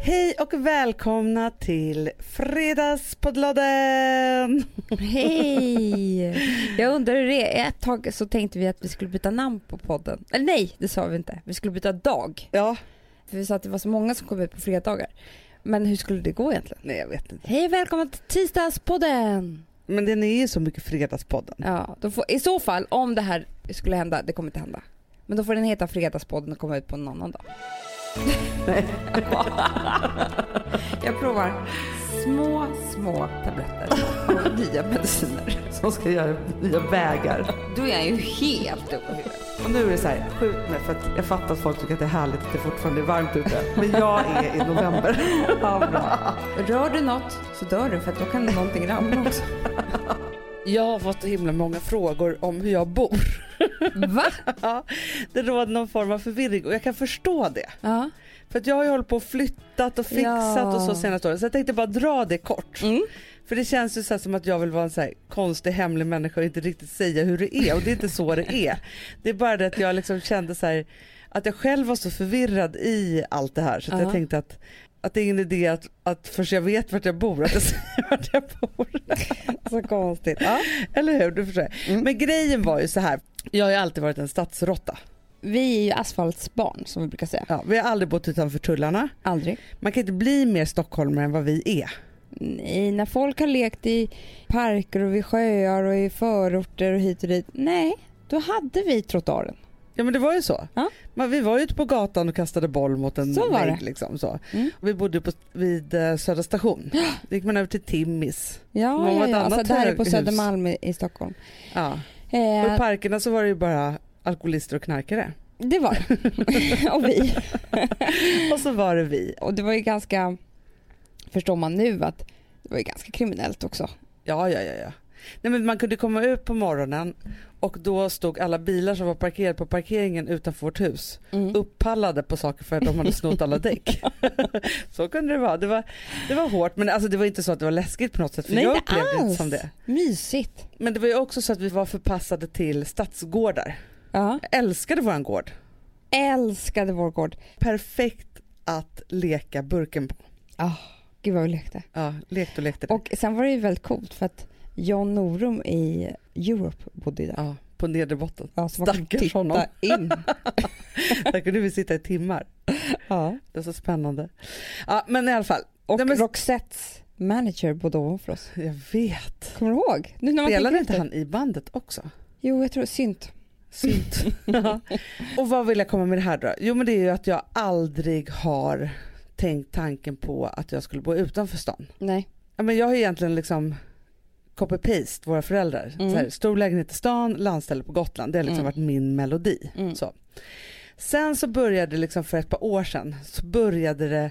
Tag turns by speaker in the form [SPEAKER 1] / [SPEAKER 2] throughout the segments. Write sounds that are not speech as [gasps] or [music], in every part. [SPEAKER 1] Hej och välkomna till Fredagspoddlodden!
[SPEAKER 2] Hej! Jag undrar hur det är. Ett tag så tänkte vi att vi skulle byta namn på podden. Eller nej, det sa vi inte. Vi skulle byta dag.
[SPEAKER 1] Ja,
[SPEAKER 2] För vi sa att det var så många som kom ut på fredagar. Men hur skulle det gå egentligen?
[SPEAKER 1] nej jag vet inte.
[SPEAKER 2] Hej och välkomna till tisdagspodden!
[SPEAKER 1] Men den är ju så mycket Fredagspodden.
[SPEAKER 2] Ja, då får, I så fall, om det här skulle hända, det kommer inte hända. Men då får den heta fredagspodden och komma ut på en annan dag. jag provar små, små tabletter och nya mediciner.
[SPEAKER 1] Som ska göra nya vägar.
[SPEAKER 2] Då är jag ju helt dum i huvudet.
[SPEAKER 1] Och nu är det så här, skjut mig för att jag fattar att folk tycker att det är härligt att det fortfarande är varmt ute. Men jag är i november.
[SPEAKER 2] [laughs] Ja, bra. Rör du något så dör du för att då kan någonting ramla också.
[SPEAKER 1] [laughs] Jag har fått så himla många frågor om hur jag bor. [laughs]
[SPEAKER 2] Va?
[SPEAKER 1] Ja, det råder någon form av förvirring och jag kan förstå det.
[SPEAKER 2] Ja.
[SPEAKER 1] För att jag har ju hållit på och flyttat och fixat
[SPEAKER 2] Ja.
[SPEAKER 1] och så senaste åren. Så jag tänkte bara dra det kort.
[SPEAKER 2] Mm.
[SPEAKER 1] För det känns ju så här som att jag vill vara en så här konstig hemlig människa och inte riktigt säga hur det är och det är inte så det är. Det är bara det att jag liksom kände så här att jag själv var så förvirrad i allt det här så att jag
[SPEAKER 2] Ja.
[SPEAKER 1] tänkte att, att det är ingen idé att, att först jag vet vart jag bor att jag säger vart jag bor. [laughs]
[SPEAKER 2] Så konstigt. Ja.
[SPEAKER 1] Eller hur? Du förstår.
[SPEAKER 2] Mm.
[SPEAKER 1] Men grejen var ju så här. Jag har ju alltid varit en stadsrotta.
[SPEAKER 2] Vi är ju asfaltsbarn som vi brukar säga.
[SPEAKER 1] Ja, vi har aldrig bott utanför tullarna.
[SPEAKER 2] Aldrig.
[SPEAKER 1] Man kan inte bli mer stockholmare än vad vi är.
[SPEAKER 2] Nej, när folk har lekt i parker och vid sjöar och i förorter och hit och dit. Nej, då hade vi trottoaren.
[SPEAKER 1] Ja men det var ju så.
[SPEAKER 2] Ja.
[SPEAKER 1] Men vi var ju ute på gatan och kastade boll mot en
[SPEAKER 2] Så var
[SPEAKER 1] vägg.
[SPEAKER 2] det.
[SPEAKER 1] Liksom, så.
[SPEAKER 2] Mm.
[SPEAKER 1] Vi bodde på, vid eh, Södra station. Då gick man över till Timmis.
[SPEAKER 2] Ja,
[SPEAKER 1] Många
[SPEAKER 2] ja, ja.
[SPEAKER 1] annat
[SPEAKER 2] Alltså, det här är på
[SPEAKER 1] höghus.
[SPEAKER 2] Södermalm i, i Stockholm.
[SPEAKER 1] Ja. Och i
[SPEAKER 2] Eh,
[SPEAKER 1] parkerna så var det ju bara alkoholister och knarkare.
[SPEAKER 2] det var [laughs] det. och vi.
[SPEAKER 1] Och så var det vi.
[SPEAKER 2] Och det var ju ganska, förstår man nu, att det var ju ganska kriminellt också.
[SPEAKER 1] Ja, ja, ja. ja. Nej, men man kunde komma ut på morgonen och då stod alla bilar som var parkerade på parkeringen utanför vårt hus
[SPEAKER 2] Mm.
[SPEAKER 1] uppallade på saker för att de hade snott alla
[SPEAKER 2] [laughs]
[SPEAKER 1] däck. så kunde det vara. Det var, det var hårt men alltså, det var inte så att det var läskigt på något sätt för
[SPEAKER 2] Nej,
[SPEAKER 1] jag
[SPEAKER 2] inte
[SPEAKER 1] upplevde det inte
[SPEAKER 2] alls.
[SPEAKER 1] som det.
[SPEAKER 2] Mysigt.
[SPEAKER 1] Men det var ju också så att vi var förpassade till stadsgårdar.
[SPEAKER 2] Ja.
[SPEAKER 1] Jag älskade våran gård.
[SPEAKER 2] Älskade vår gård.
[SPEAKER 1] Perfekt att leka burken på.
[SPEAKER 2] Gud vad vi lekte.
[SPEAKER 1] Ja, lekte och lekte.
[SPEAKER 2] Och sen var det ju väldigt coolt för att John Norum i Europe bodde ju där.
[SPEAKER 1] Ja, på nedre botten.
[SPEAKER 2] Ja, så man kunde
[SPEAKER 1] Stackars
[SPEAKER 2] titta
[SPEAKER 1] honom.
[SPEAKER 2] in.
[SPEAKER 1] Där kunde vi sitta i timmar.
[SPEAKER 2] [laughs] Ja.
[SPEAKER 1] Det var så spännande. Ja, men i alla fall.
[SPEAKER 2] Och
[SPEAKER 1] Nej, men-
[SPEAKER 2] Roxettes manager bodde ovanför oss.
[SPEAKER 1] Jag vet.
[SPEAKER 2] Kommer du ihåg? Nu när man
[SPEAKER 1] Spelade inte
[SPEAKER 2] tänker efter.
[SPEAKER 1] han i bandet också?
[SPEAKER 2] Jo, jag tror synt.
[SPEAKER 1] Synd.
[SPEAKER 2] [laughs]
[SPEAKER 1] Ja. och vad vill jag komma med det här då? Jo men det är ju att jag aldrig har tänkt tanken på att jag skulle bo utanför stan.
[SPEAKER 2] Nej.
[SPEAKER 1] Ja, men jag har ju egentligen liksom copy-paste våra föräldrar.
[SPEAKER 2] Mm.
[SPEAKER 1] Så här, stor lägenhet i stan, landställe på Gotland. Det har liksom
[SPEAKER 2] Mm.
[SPEAKER 1] varit min melodi.
[SPEAKER 2] Mm.
[SPEAKER 1] Så. Sen så började det liksom för ett par år sedan så började det.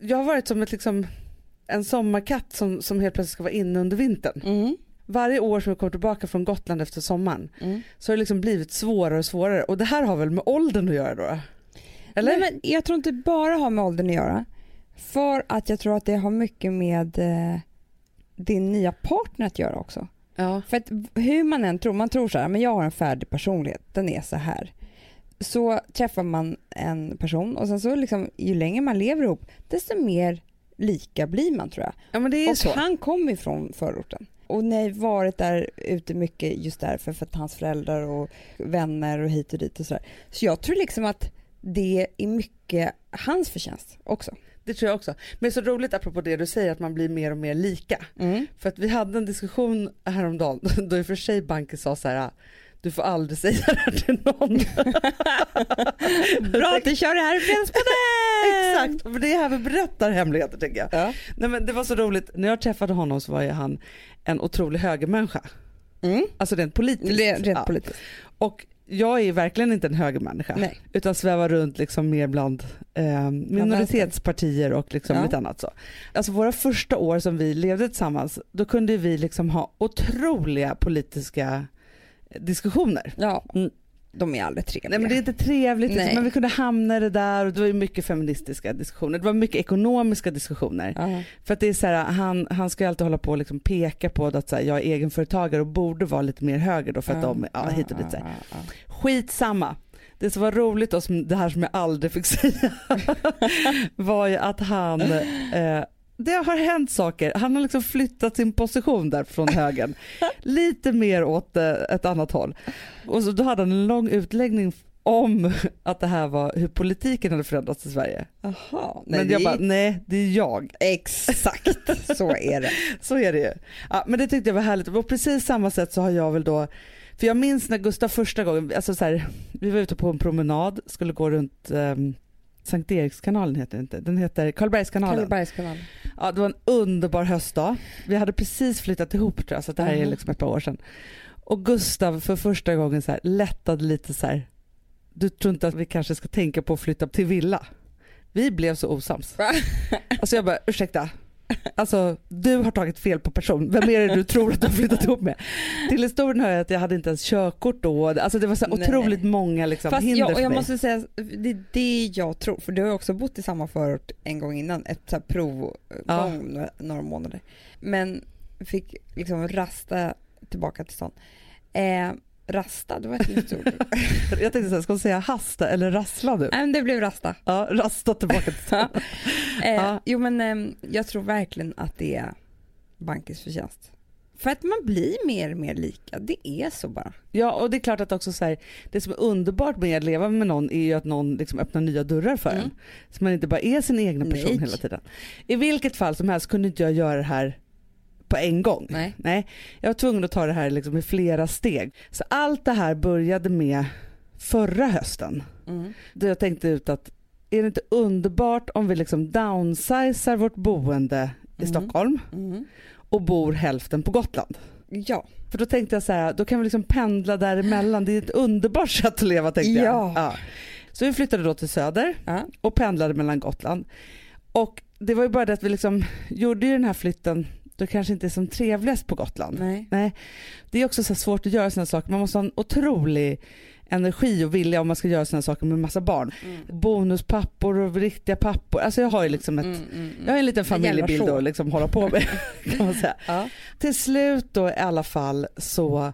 [SPEAKER 1] Jag har varit som ett liksom en sommarkatt som, som helt plötsligt ska vara inne under vintern.
[SPEAKER 2] Mm.
[SPEAKER 1] Varje år som jag kommer tillbaka från Gotland efter sommaren
[SPEAKER 2] Mm.
[SPEAKER 1] så har det liksom blivit svårare och svårare och det här har väl med åldern att göra då? Eller?
[SPEAKER 2] Nej, men jag tror inte bara har med åldern att göra. För att jag tror att det har mycket med eh, din nya partner att göra också.
[SPEAKER 1] Ja.
[SPEAKER 2] För att hur man än tror, man tror så här, men jag har en färdig personlighet, den är så här. Så träffar man en person och sen så liksom, ju längre man lever ihop, desto mer lika blir man tror jag.
[SPEAKER 1] ja men det är ju
[SPEAKER 2] och
[SPEAKER 1] så.
[SPEAKER 2] han kommer ifrån förorten. Och ni har varit där ute mycket just därför, för att hans föräldrar och vänner och hit och dit och sådär. Så jag tror liksom att det är mycket hans förtjänst också.
[SPEAKER 1] Det tror jag också. Men det är så roligt apropå det du säger att man blir mer och mer lika.
[SPEAKER 2] Mm.
[SPEAKER 1] För att vi hade en diskussion häromdagen [laughs] då i och för sig banken sa så här du får aldrig säga det här till någon. [laughs]
[SPEAKER 2] Bra att du kör det här i Fredagspodden!
[SPEAKER 1] Exakt, för det är här vi berättar hemligheter tänker jag.
[SPEAKER 2] Ja.
[SPEAKER 1] Nej, men det var så roligt, när jag träffade honom så var ju han en otrolig högermänniska.
[SPEAKER 2] Mm.
[SPEAKER 1] Alltså rent politiskt.
[SPEAKER 2] Re- Rent
[SPEAKER 1] Ja.
[SPEAKER 2] politiskt.
[SPEAKER 1] Och jag är ju verkligen inte en högermänniska.
[SPEAKER 2] Nej.
[SPEAKER 1] Utan svävar runt liksom mer bland eh, minoritetspartier och liksom
[SPEAKER 2] Ja.
[SPEAKER 1] lite annat så. Alltså våra första år som vi levde tillsammans då kunde vi liksom ha otroliga politiska diskussioner.
[SPEAKER 2] Ja,
[SPEAKER 1] Mm.
[SPEAKER 2] de är aldrig trevliga.
[SPEAKER 1] Nej men det är inte trevligt liksom.
[SPEAKER 2] Nej.
[SPEAKER 1] men vi kunde hamna i det där och det var ju mycket feministiska diskussioner. Det var mycket ekonomiska diskussioner.
[SPEAKER 2] Ja.
[SPEAKER 1] För att det är så här, han, han ska ju alltid hålla på och liksom peka på att så här, jag är egenföretagare och borde vara lite mer höger då för att de, ja, hit och dit så här. Skitsamma. Det som var roligt och som, det här som jag aldrig fick [laughs] säga var ju att han, eh, det har hänt saker. Han har liksom flyttat sin position där från högen. Lite mer åt eh, ett annat håll. Och så, då hade han en lång utläggning om att det här var hur politiken hade förändrats i Sverige.
[SPEAKER 2] Jaha,
[SPEAKER 1] men jag bara, nej det är jag.
[SPEAKER 2] Exakt så är [laughs] det.
[SPEAKER 1] [laughs] Så är det ju. Ja, men det tyckte jag var härligt. Och på precis samma sätt så har jag väl då, för jag minns när Gustav första gången, alltså så här, vi var ute på en promenad, skulle gå runt ehm, Sankt Erikskanalen heter den inte, den heter Karlbergskanalen.
[SPEAKER 2] Kallebergskanalen.
[SPEAKER 1] Ja, det var en underbar höstdag. Vi hade precis flyttat ihop tror jag, så det här är
[SPEAKER 2] Mhm.
[SPEAKER 1] liksom ett par år sedan. Och Gustav för första gången så här, lättade lite så här, du tror inte att vi kanske ska tänka på att flytta till villa? Vi blev så osams.
[SPEAKER 2] Va?
[SPEAKER 1] Alltså jag bara, ursäkta. Alltså du har tagit fel på person. Vem är det du tror att du har flyttat ihop med? Till historien hör jag att jag hade inte ens körkort då. Alltså det var så här
[SPEAKER 2] Nej.
[SPEAKER 1] otroligt många liksom,
[SPEAKER 2] Fast
[SPEAKER 1] hinder
[SPEAKER 2] jag, och
[SPEAKER 1] för
[SPEAKER 2] jag
[SPEAKER 1] mig.
[SPEAKER 2] måste säga, det är det jag tror, för du har ju också bott i samma förort en gång innan, ett så här provgång
[SPEAKER 1] Ja.
[SPEAKER 2] några- några månader. Men fick liksom rasta tillbaka till stan. Eh, rasta, det var ett
[SPEAKER 1] [laughs]
[SPEAKER 2] nytt ord.
[SPEAKER 1] Jag tänkte såhär, ska hon säga hasta eller rassla nu?
[SPEAKER 2] Nej men det blev rasta.
[SPEAKER 1] Ja, rasta tillbaka till stan.
[SPEAKER 2] Eh,
[SPEAKER 1] Ja.
[SPEAKER 2] Jo men ehm, jag tror verkligen att det är bankens förtjänst. För att man blir mer och mer lika, det är så bara.
[SPEAKER 1] Ja och det är klart att också så här, det som är underbart med att leva med någon är ju att någon liksom öppnar nya dörrar för
[SPEAKER 2] Mm.
[SPEAKER 1] en. Så man inte bara är sin egna person
[SPEAKER 2] Nej.
[SPEAKER 1] hela tiden. I vilket fall som helst kunde inte jag göra det här på en gång.
[SPEAKER 2] Nej.
[SPEAKER 1] Nej, jag var tvungen att ta det här liksom i flera steg. Så allt det här började med förra hösten.
[SPEAKER 2] Mm.
[SPEAKER 1] Då jag tänkte ut att är det inte underbart om vi liksom downsizar vårt boende i
[SPEAKER 2] Mm.
[SPEAKER 1] Stockholm
[SPEAKER 2] Mm.
[SPEAKER 1] och bor hälften på Gotland?
[SPEAKER 2] Ja,
[SPEAKER 1] För då tänkte jag så här, då kan vi liksom pendla däremellan. Det är ett underbart sätt att leva tänkte
[SPEAKER 2] Ja.
[SPEAKER 1] jag. Ja. Så vi flyttade då till Söder
[SPEAKER 2] Ja.
[SPEAKER 1] och pendlade mellan Gotland. Och det var ju bara det att vi liksom gjorde ju den här flytten, då kanske inte är som trevligast på Gotland.
[SPEAKER 2] nej.
[SPEAKER 1] Det är också så här svårt att göra sådana saker. Man måste ha en otrolig energi och vilja om man ska göra sådana saker med massa barn.
[SPEAKER 2] Mm.
[SPEAKER 1] Bonuspappor och riktiga pappor. Alltså jag har ju liksom ett,
[SPEAKER 2] Mm, mm, mm.
[SPEAKER 1] jag har en liten
[SPEAKER 2] Det gäller
[SPEAKER 1] familjebild
[SPEAKER 2] så.
[SPEAKER 1] att liksom hålla på med. [laughs] Kan man säga.
[SPEAKER 2] Ja.
[SPEAKER 1] Till slut då i alla fall så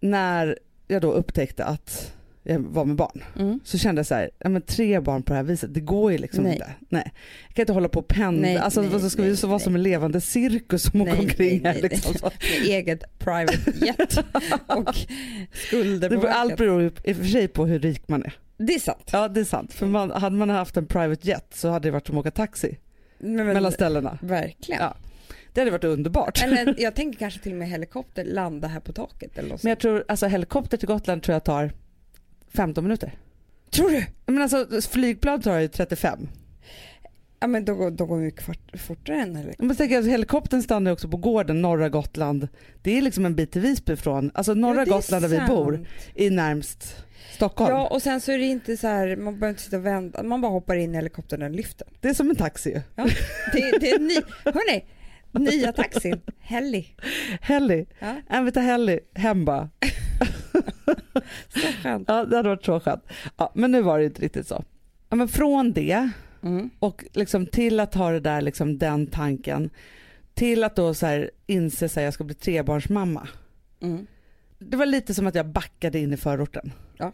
[SPEAKER 1] när jag då upptäckte att jag var med barn
[SPEAKER 2] Mm.
[SPEAKER 1] så kände jag så här, ja, men tre barn på det här viset, det går ju liksom
[SPEAKER 2] Nej.
[SPEAKER 1] inte. Nej. Jag kan inte hålla på och pendla,
[SPEAKER 2] Nej,
[SPEAKER 1] alltså,
[SPEAKER 2] nej,
[SPEAKER 1] så ska vi
[SPEAKER 2] nej,
[SPEAKER 1] så vara
[SPEAKER 2] nej.
[SPEAKER 1] som en levande cirkus som åker
[SPEAKER 2] Nej,
[SPEAKER 1] omkring
[SPEAKER 2] nej,
[SPEAKER 1] här.
[SPEAKER 2] nej, [laughs]
[SPEAKER 1] Liksom, så.
[SPEAKER 2] Med eget private [laughs] jet och skulder
[SPEAKER 1] Det
[SPEAKER 2] på
[SPEAKER 1] beror, allt
[SPEAKER 2] banken.
[SPEAKER 1] beror ju i och för sig på hur rik man är.
[SPEAKER 2] Det är sant.
[SPEAKER 1] Ja det är sant. För man, hade man haft en private jet så hade det varit som att åka taxi
[SPEAKER 2] Men, men,
[SPEAKER 1] mellan ställena.
[SPEAKER 2] verkligen.
[SPEAKER 1] Ja. Det hade varit underbart.
[SPEAKER 2] Eller jag tänker kanske till och med helikopter landa här på taket eller något
[SPEAKER 1] Men jag tror, alltså helikopter till Gotland tror jag tar 15 minuter.
[SPEAKER 2] Tror du?
[SPEAKER 1] Men alltså flygplan tar ju 35.
[SPEAKER 2] Ja men då, går- då går vi kvart, fortare än helikopter.
[SPEAKER 1] Men tänk, alltså, helikoptern stannar ju också på gården, norra Gotland. Det är liksom en bit till Visby från, alltså norra
[SPEAKER 2] Ja, det är
[SPEAKER 1] Gotland där vi
[SPEAKER 2] sant.
[SPEAKER 1] bor är närmst Stockholm.
[SPEAKER 2] Ja och sen så är det inte så här, man behöver inte sitta och vänta, man bara hoppar in i helikoptern och lyfter.
[SPEAKER 1] Det är som en taxi ju.
[SPEAKER 2] Det, det är ny, [laughs] hörni, nya taxin, heli.
[SPEAKER 1] Helly,
[SPEAKER 2] Ja,
[SPEAKER 1] äh, vi tar Helly hem bara.
[SPEAKER 2] så skönt.
[SPEAKER 1] Ja, det hade varit så skönt. Ja, men nu var det inte riktigt så. Ja, men från det
[SPEAKER 2] Mm.
[SPEAKER 1] och liksom till att ha det där, liksom den tanken, till att då så här inse att jag ska bli trebarnsmamma.
[SPEAKER 2] Mm.
[SPEAKER 1] Det var lite som att jag backade in i förorten.
[SPEAKER 2] Ja.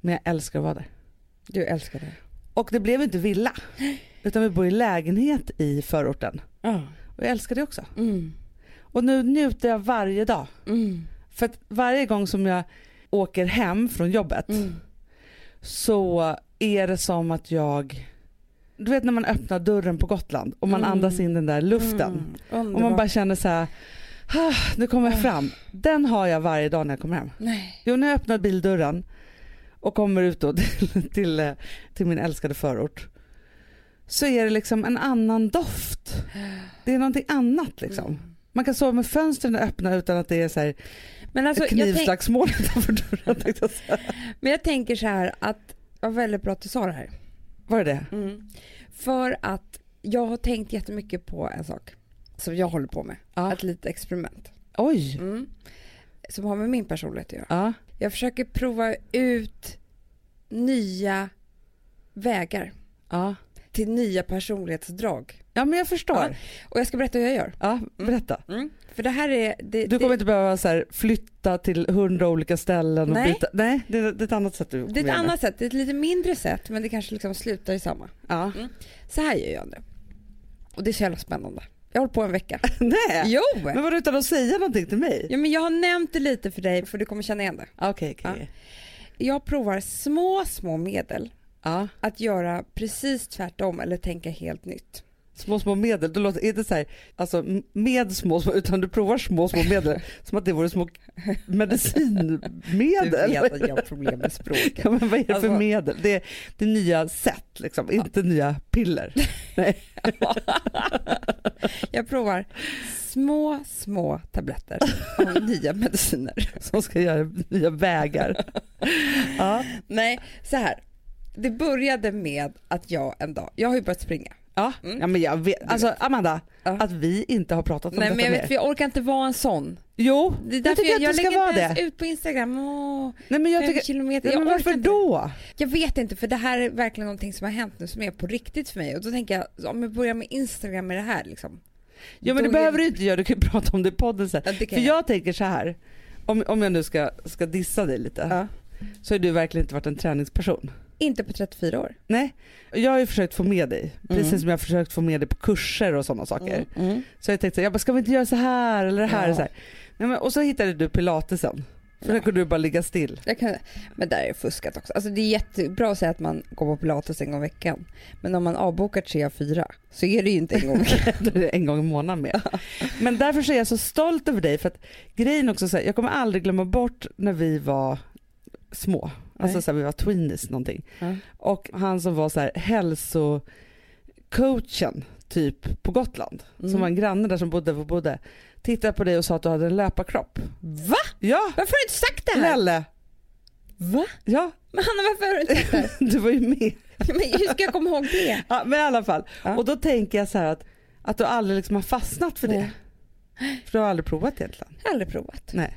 [SPEAKER 1] Men jag älskar att vara där.
[SPEAKER 2] Du älskar det.
[SPEAKER 1] Och det blev inte villa, utan vi bor i lägenhet i förorten.
[SPEAKER 2] Ja.
[SPEAKER 1] Och jag älskar det också.
[SPEAKER 2] Mm.
[SPEAKER 1] Och nu njuter jag varje dag.
[SPEAKER 2] Mm.
[SPEAKER 1] För att varje gång som jag åker hem från jobbet
[SPEAKER 2] Mm.
[SPEAKER 1] så är det som att jag, du vet när man öppnar dörren på Gotland och man
[SPEAKER 2] Mm.
[SPEAKER 1] andas in den där luften
[SPEAKER 2] Mm.
[SPEAKER 1] och man bara känner så här, "Ah, nu kommer jag
[SPEAKER 2] Ah.
[SPEAKER 1] fram. Den har jag varje dag när jag kommer hem.
[SPEAKER 2] Nej.
[SPEAKER 1] Jo, när jag öppnar bildörren och kommer ut då [laughs] till, till, eh, till min älskade förort så är det liksom en annan doft. Det är någonting annat liksom.
[SPEAKER 2] Mm.
[SPEAKER 1] Man kan sova med fönstren öppna utan att det är så här
[SPEAKER 2] Men, alltså,
[SPEAKER 1] ett
[SPEAKER 2] jag tänk,
[SPEAKER 1] knivslagsmål [laughs] utanför dörren. tänkte jag säga.
[SPEAKER 2] men jag tänker så här att, vad väldigt bra att du sa det här.
[SPEAKER 1] Var det det?
[SPEAKER 2] För att jag har tänkt jättemycket på en sak som jag håller på med.
[SPEAKER 1] Ja. Mm.
[SPEAKER 2] Ett litet experiment.
[SPEAKER 1] Oj.
[SPEAKER 2] Som har med min personlighet att göra.
[SPEAKER 1] Ja.
[SPEAKER 2] Jag försöker prova ut nya vägar.
[SPEAKER 1] ja.
[SPEAKER 2] till nya personlighetsdrag.
[SPEAKER 1] Ja men jag förstår.
[SPEAKER 2] Och jag ska berätta hur jag gör.
[SPEAKER 1] Ja, berätta.
[SPEAKER 2] För det här är... Mm. Det,
[SPEAKER 1] Du
[SPEAKER 2] det,
[SPEAKER 1] kommer inte behöva så här, flytta till hundra olika ställen och
[SPEAKER 2] Nej.
[SPEAKER 1] byta. Nej, det, det är ett annat sätt du
[SPEAKER 2] det är ett annat sätt, det är ett lite mindre sätt men det kanske liksom slutar i samma.
[SPEAKER 1] Ja. [laughs]
[SPEAKER 2] Så här gör jag nu. Och det är så jävla spännande. Jag håller på
[SPEAKER 1] [laughs]
[SPEAKER 2] en vecka.
[SPEAKER 1] Nej.
[SPEAKER 2] Jo!
[SPEAKER 1] Men vadå utan att säga någonting till mig?
[SPEAKER 2] Ja, men jag har nämnt det lite för dig för du kommer känna igen det.
[SPEAKER 1] Okej, okej.
[SPEAKER 2] Jag provar små, små medel
[SPEAKER 1] Ja.
[SPEAKER 2] att göra precis tvärtom eller tänka helt nytt.
[SPEAKER 1] Små små medel, du låter inte så här, alltså m- med små små utan du provar små små medel som att det vore små
[SPEAKER 2] Du
[SPEAKER 1] medicinmedel.
[SPEAKER 2] vet att jag har problem med språket.
[SPEAKER 1] Ja, men vad är det för
[SPEAKER 2] Alltså-
[SPEAKER 1] medel? Det är, det är nya sätt liksom, inte nya piller.
[SPEAKER 2] [laughs] Jag provar små, små tabletter
[SPEAKER 1] [laughs]
[SPEAKER 2] av nya mediciner.
[SPEAKER 1] som ska göra nya vägar. Ja.
[SPEAKER 2] Nej, så här. Det började med att jag en dag, jag har ju börjat springa.
[SPEAKER 1] Ja.
[SPEAKER 2] Mm.
[SPEAKER 1] ja, men jag vet. Alltså Amanda,
[SPEAKER 2] Ja.
[SPEAKER 1] att vi inte har pratat om
[SPEAKER 2] Nej
[SPEAKER 1] detta
[SPEAKER 2] men jag,
[SPEAKER 1] mer.
[SPEAKER 2] vet, för jag orkar inte vara en sån.
[SPEAKER 1] Jo,
[SPEAKER 2] Det är
[SPEAKER 1] jag
[SPEAKER 2] därför
[SPEAKER 1] tycker
[SPEAKER 2] jag,
[SPEAKER 1] att
[SPEAKER 2] jag
[SPEAKER 1] du ska
[SPEAKER 2] lägger
[SPEAKER 1] vara
[SPEAKER 2] inte ens
[SPEAKER 1] det.
[SPEAKER 2] ut på Instagram. Åh,
[SPEAKER 1] Nej, men jag
[SPEAKER 2] fem
[SPEAKER 1] tycker,
[SPEAKER 2] kilometer.
[SPEAKER 1] nej,
[SPEAKER 2] jag
[SPEAKER 1] men
[SPEAKER 2] orkar
[SPEAKER 1] varför
[SPEAKER 2] inte.
[SPEAKER 1] då?
[SPEAKER 2] Jag vet inte för det här är verkligen någonting som har hänt nu som är på riktigt för mig och då tänker jag så om jag börjar med Instagram med det här liksom.
[SPEAKER 1] Ja, men det
[SPEAKER 2] Då-
[SPEAKER 1] behöver du inte göra, du kan ju prata om det i podden sen.
[SPEAKER 2] Ja, det kan
[SPEAKER 1] För jag tänker så här, om, om jag nu ska, ska dissa dig lite,
[SPEAKER 2] Ja.
[SPEAKER 1] så har du verkligen inte varit en träningsperson.
[SPEAKER 2] Inte på 34 år.
[SPEAKER 1] Nej, jag har ju försökt få med dig, precis
[SPEAKER 2] Mm.
[SPEAKER 1] som jag har försökt få med dig på kurser och sådana saker.
[SPEAKER 2] Mm.
[SPEAKER 1] Så jag tänkte, så här, jag bara, ska vi inte göra så här eller det här?
[SPEAKER 2] Ja.
[SPEAKER 1] Och, så här. Nej, men, och så hittade du pilatesen, för där
[SPEAKER 2] Ja.
[SPEAKER 1] kunde du bara ligga still.
[SPEAKER 2] Jag kan, men där är jag fuskat också. Alltså det är jättebra att säga att man går på pilates en gång i veckan. Men om man avbokar tre av fyra så är det ju inte en gång i veckan.
[SPEAKER 1] Då är det en gång i månaden med. Men därför så är jag så stolt över dig för att grejen också så här, jag kommer aldrig glömma bort när vi var små. Alltså
[SPEAKER 2] Nej.
[SPEAKER 1] så här, vi var tweenies någonting.
[SPEAKER 2] Ja.
[SPEAKER 1] Och han som var så här hälsocoachen typ på Gotland, som
[SPEAKER 2] Mm.
[SPEAKER 1] var en granne där som bodde, bodde tittade på dig och sa att du hade en löparkropp.
[SPEAKER 2] Mm. Va?
[SPEAKER 1] Ja,
[SPEAKER 2] Varför har du inte sagt det här?
[SPEAKER 1] Lelle!
[SPEAKER 2] Va?
[SPEAKER 1] Ja, [laughs]
[SPEAKER 2] Men Hanna varför har du inte sagt det här?
[SPEAKER 1] du var ju med.
[SPEAKER 2] Ja, Men hur ska jag komma ihåg det?
[SPEAKER 1] Ja, men i alla fall.
[SPEAKER 2] Ja.
[SPEAKER 1] Och då tänker jag så här att, att du aldrig liksom har fastnat för det.
[SPEAKER 2] Nej.
[SPEAKER 1] För du har aldrig provat egentligen.
[SPEAKER 2] Jag har aldrig provat.
[SPEAKER 1] Nej.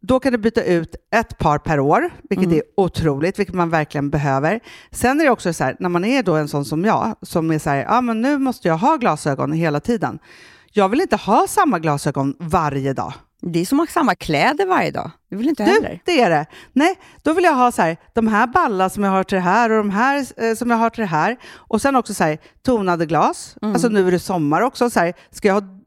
[SPEAKER 3] då kan du byta ut ett par per år, vilket är otroligt, vilket man verkligen behöver. Sen är det också så här, när man är då en sån som jag, som är så här, ja men nu måste jag ha glasögon hela tiden. Jag vill inte ha samma glasögon varje dag.
[SPEAKER 4] Det är som att ha samma kläder varje dag. Det vill inte jag
[SPEAKER 3] Du,
[SPEAKER 4] heller.
[SPEAKER 3] det är det. Nej, då vill jag ha så här, de här balla som jag har till det här och de här eh, som jag har till det här. Och sen också så här, tonade glas. Alltså nu är det sommar också. Så här, ska jag ha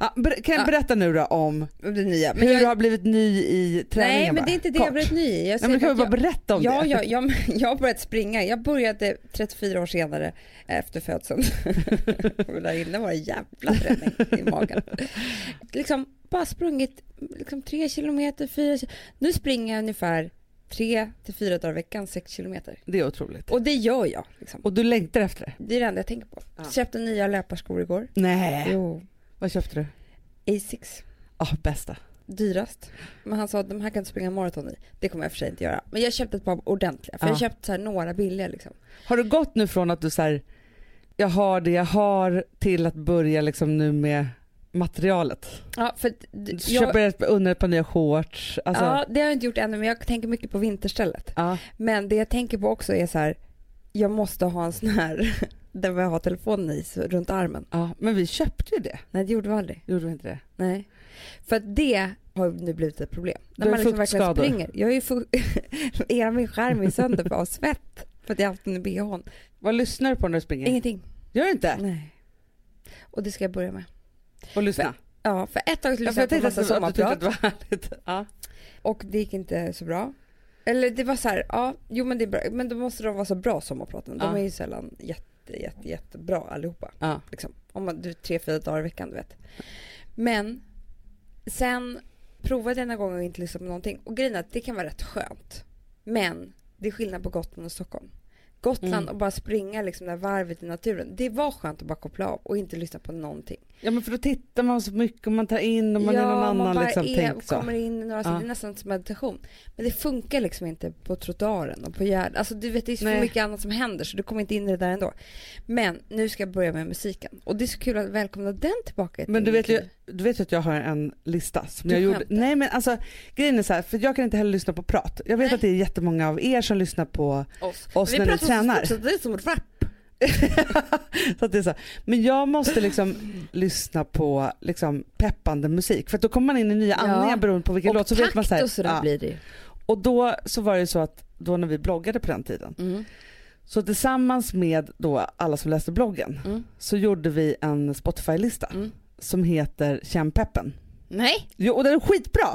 [SPEAKER 1] Ja, ber- kan
[SPEAKER 2] Ja.
[SPEAKER 1] jag berätta nu då om
[SPEAKER 2] Det nya.
[SPEAKER 1] hur
[SPEAKER 2] jag,
[SPEAKER 1] du har blivit ny i träningen?
[SPEAKER 2] nej, men
[SPEAKER 1] bara?
[SPEAKER 2] det är inte det
[SPEAKER 1] Kort.
[SPEAKER 2] jag blivit ny i.
[SPEAKER 1] Nej,
[SPEAKER 2] Jag
[SPEAKER 1] men du kan
[SPEAKER 2] säger
[SPEAKER 1] väl
[SPEAKER 2] att
[SPEAKER 1] bara
[SPEAKER 2] jag-
[SPEAKER 1] berätta om
[SPEAKER 2] ja,
[SPEAKER 1] det?
[SPEAKER 2] Ja, jag, [laughs] jag har börjat springa. Jag började 34 år senare eh, efter födseln. [laughs] Och där inne var det en jävla träning i magen. Liksom bara sprungit liksom 3 kilometer, 4 kil- Nu springer jag ungefär 3 till 4 dagar i veckan, 6 kilometer.
[SPEAKER 1] Det är otroligt. Och,
[SPEAKER 2] Och det gör jag. Liksom.
[SPEAKER 1] du längtar efter det?
[SPEAKER 2] Det är det enda jag tänker på.
[SPEAKER 1] Ja.
[SPEAKER 2] Köpte nya löparskor igår.
[SPEAKER 1] Nej.
[SPEAKER 2] Jo.
[SPEAKER 1] Vad köpte du?
[SPEAKER 2] Asics.
[SPEAKER 1] Ja, bästa.
[SPEAKER 2] dyrast. Men han sa att de här kan du springa maraton i. Det kommer jag för sig inte göra. Men jag köpte ett par ordentliga. För
[SPEAKER 1] Ja.
[SPEAKER 2] jag köpte så här några billiga liksom.
[SPEAKER 1] Har du gått nu från att du säger jag har det jag har till att börja liksom nu med materialet?
[SPEAKER 2] Ja, för att d-
[SPEAKER 1] Du
[SPEAKER 2] jag,
[SPEAKER 1] köper ett, under ett par nya shorts. Alltså, ja.
[SPEAKER 2] ja, det har jag inte gjort ännu men jag tänker mycket på vinterstället. Men det jag tänker på också är så här. Jag måste ha en sån här [laughs] där jag har telefonen i så, runt armen.
[SPEAKER 1] ja, men vi köpte ju det.
[SPEAKER 2] Nej det gjorde vi aldrig.
[SPEAKER 1] Gjorde vi inte det?
[SPEAKER 2] Nej. För att det har nu blivit ett problem. När
[SPEAKER 1] Du har
[SPEAKER 2] man liksom verkligen
[SPEAKER 1] fuktskador.
[SPEAKER 2] springer. Jag är ju fu- [laughs] Hela min skärm är sönder av svett. För att jag har haft den i bhn.
[SPEAKER 1] Vad lyssnar du på när du springer?
[SPEAKER 2] Ingenting.
[SPEAKER 1] Gör du inte?
[SPEAKER 2] Nej. Och det ska jag börja med.
[SPEAKER 1] Och lyssna?
[SPEAKER 2] Ja, för ett tag
[SPEAKER 1] Ja,
[SPEAKER 2] lyssnade
[SPEAKER 1] för
[SPEAKER 2] jag på massa
[SPEAKER 1] du- att du tyckte att
[SPEAKER 2] sommarprat
[SPEAKER 1] det var härligt. Ja.
[SPEAKER 2] och det gick inte så bra. Eller det var så här, ja, jo men det är bra, men då måste de vara så bra sommarpraten. De
[SPEAKER 1] Ja.
[SPEAKER 2] är ju sällan jätte, jätte, jättebra allihopa.
[SPEAKER 1] Ja.
[SPEAKER 2] Liksom. Om man, du tre, fyra dagar i veckan, du vet. Men sen provade jag en gång och inte lyssna på någonting. Och grejen är att det kan vara rätt skönt. Men det är skillnad på Gotland och Stockholm. Gotland
[SPEAKER 1] Mm.
[SPEAKER 2] och bara springa liksom det här varvet i naturen. Det var skönt att bara koppla av och inte lyssna på någonting.
[SPEAKER 1] ja men för då tittar man så mycket och man tar in och man är någon annan
[SPEAKER 2] bara
[SPEAKER 1] liksom.
[SPEAKER 2] är-
[SPEAKER 1] tänk så.
[SPEAKER 2] kommer in i några,
[SPEAKER 1] Ja.
[SPEAKER 2] det är nästan som meditation. Men det funkar liksom inte på trottoaren och på Gärdet. Alltså du vet det är så
[SPEAKER 1] Nej.
[SPEAKER 2] mycket annat som händer så du kommer inte in i det där ändå. Men nu ska jag börja med musiken och det är så kul att välkomna den tillbaka. till
[SPEAKER 1] Men du
[SPEAKER 2] mitt
[SPEAKER 1] vet, ju,
[SPEAKER 2] liv.
[SPEAKER 1] du vet ju att jag har en lista som
[SPEAKER 2] Du
[SPEAKER 1] jag gjorde.
[SPEAKER 2] skämtar.
[SPEAKER 1] Nej men alltså grejen är så här, för jag kan inte heller lyssna på prat. Jag vet
[SPEAKER 2] Nej.
[SPEAKER 1] att det är jättemånga av er som lyssnar på
[SPEAKER 2] Oss.
[SPEAKER 1] oss
[SPEAKER 2] Men
[SPEAKER 1] när
[SPEAKER 2] vi
[SPEAKER 1] ni
[SPEAKER 2] pratar
[SPEAKER 1] tränar.
[SPEAKER 2] Så, fort så det är som ett rap.
[SPEAKER 1] så att det är så. här. Men jag måste liksom lyssna på liksom peppande musik för att då kommer man in i nya
[SPEAKER 2] Ja.
[SPEAKER 1] andningar beroende på vilken
[SPEAKER 2] Och
[SPEAKER 1] låt. Så vet man
[SPEAKER 2] takt
[SPEAKER 1] så här,
[SPEAKER 2] och sådär
[SPEAKER 1] ja.
[SPEAKER 2] blir det ju.
[SPEAKER 1] och då så var det ju så att då när vi bloggade på den tiden,
[SPEAKER 2] Mm.
[SPEAKER 1] så tillsammans med då alla som läste bloggen
[SPEAKER 2] Mm.
[SPEAKER 1] så gjorde vi en Spotify-lista
[SPEAKER 2] Mm.
[SPEAKER 1] som heter Känn peppen.
[SPEAKER 2] Nej,
[SPEAKER 1] Jo, och den är skitbra!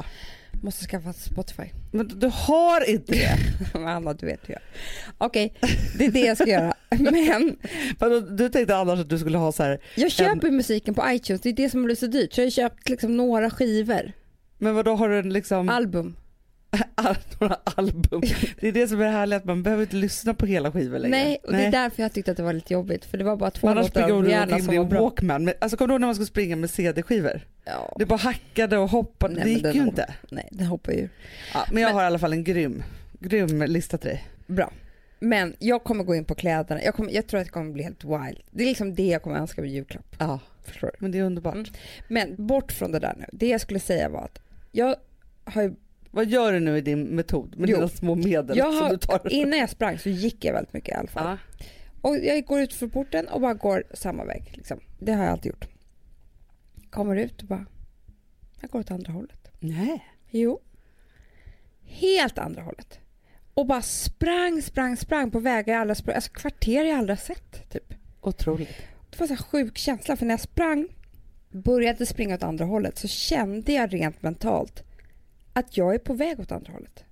[SPEAKER 2] Måste skaffa Spotify. [laughs]
[SPEAKER 1] Men du har inte det.
[SPEAKER 2] Men Anna, du vet hur jag Okej, det är det jag ska göra. [laughs] Men
[SPEAKER 1] Vadå, Du tänkte annars att du skulle ha så här,
[SPEAKER 2] jag köper ju musiken på iTunes. Det är det som blir så dyrt. Så jag har köpt liksom några skivor,
[SPEAKER 1] men vadå har du en liksom
[SPEAKER 2] album.
[SPEAKER 1] all, [laughs] några album? Det är det som är härligt, att man behöver inte lyssna på hela skivor längre.
[SPEAKER 2] Nej, och det är därför jag tyckte att det var lite jobbigt. För det var bara två
[SPEAKER 1] Men annars
[SPEAKER 2] låtar
[SPEAKER 1] springer
[SPEAKER 2] av
[SPEAKER 1] du
[SPEAKER 2] Rihanna
[SPEAKER 1] omkring
[SPEAKER 2] som
[SPEAKER 1] med
[SPEAKER 2] var
[SPEAKER 1] en
[SPEAKER 2] bra.
[SPEAKER 1] Walkman. Men, alltså, kommer du ihåg när man skulle springa med CD-skivor?
[SPEAKER 2] Ja.
[SPEAKER 1] Det bara hackade och hoppade,
[SPEAKER 2] Nej,
[SPEAKER 1] det
[SPEAKER 2] men
[SPEAKER 1] gick
[SPEAKER 2] den
[SPEAKER 1] ju
[SPEAKER 2] har-
[SPEAKER 1] inte.
[SPEAKER 2] Nej, den hoppar ju.
[SPEAKER 1] Ja, men jag har i alla fall en grym, grym lista till dig.
[SPEAKER 2] Bra. Men jag kommer gå in på kläderna. Jag, kommer, jag tror att det kommer bli helt wild. Det är liksom det jag kommer önska med julklapp.
[SPEAKER 1] Ja,
[SPEAKER 2] Förstår du?
[SPEAKER 1] men det är underbart.
[SPEAKER 2] Mm. Men bort från det där nu. Det jag skulle säga var att jag har ju
[SPEAKER 1] Vad gör du nu i din metod med
[SPEAKER 2] Jo.
[SPEAKER 1] dina små medel
[SPEAKER 2] Jag
[SPEAKER 1] som du tar?
[SPEAKER 2] har, innan jag sprang så gick jag väldigt mycket i alla fall.
[SPEAKER 1] Ja.
[SPEAKER 2] Och jag går ut för porten och bara går samma väg. Liksom. Det har jag alltid gjort. Kommer ut och bara... Jag går åt andra hållet.
[SPEAKER 1] Nej.
[SPEAKER 2] Jo. Helt andra hållet. Och bara sprang, sprang, sprang på vägar jag aldrig sprang. Alltså kvarter jag aldrig har sett. Typ.
[SPEAKER 1] Otroligt.
[SPEAKER 2] Det var en sjuk känsla för när jag sprang, började springa åt andra hållet så kände jag rent mentalt att jag är på väg åt andra hållet.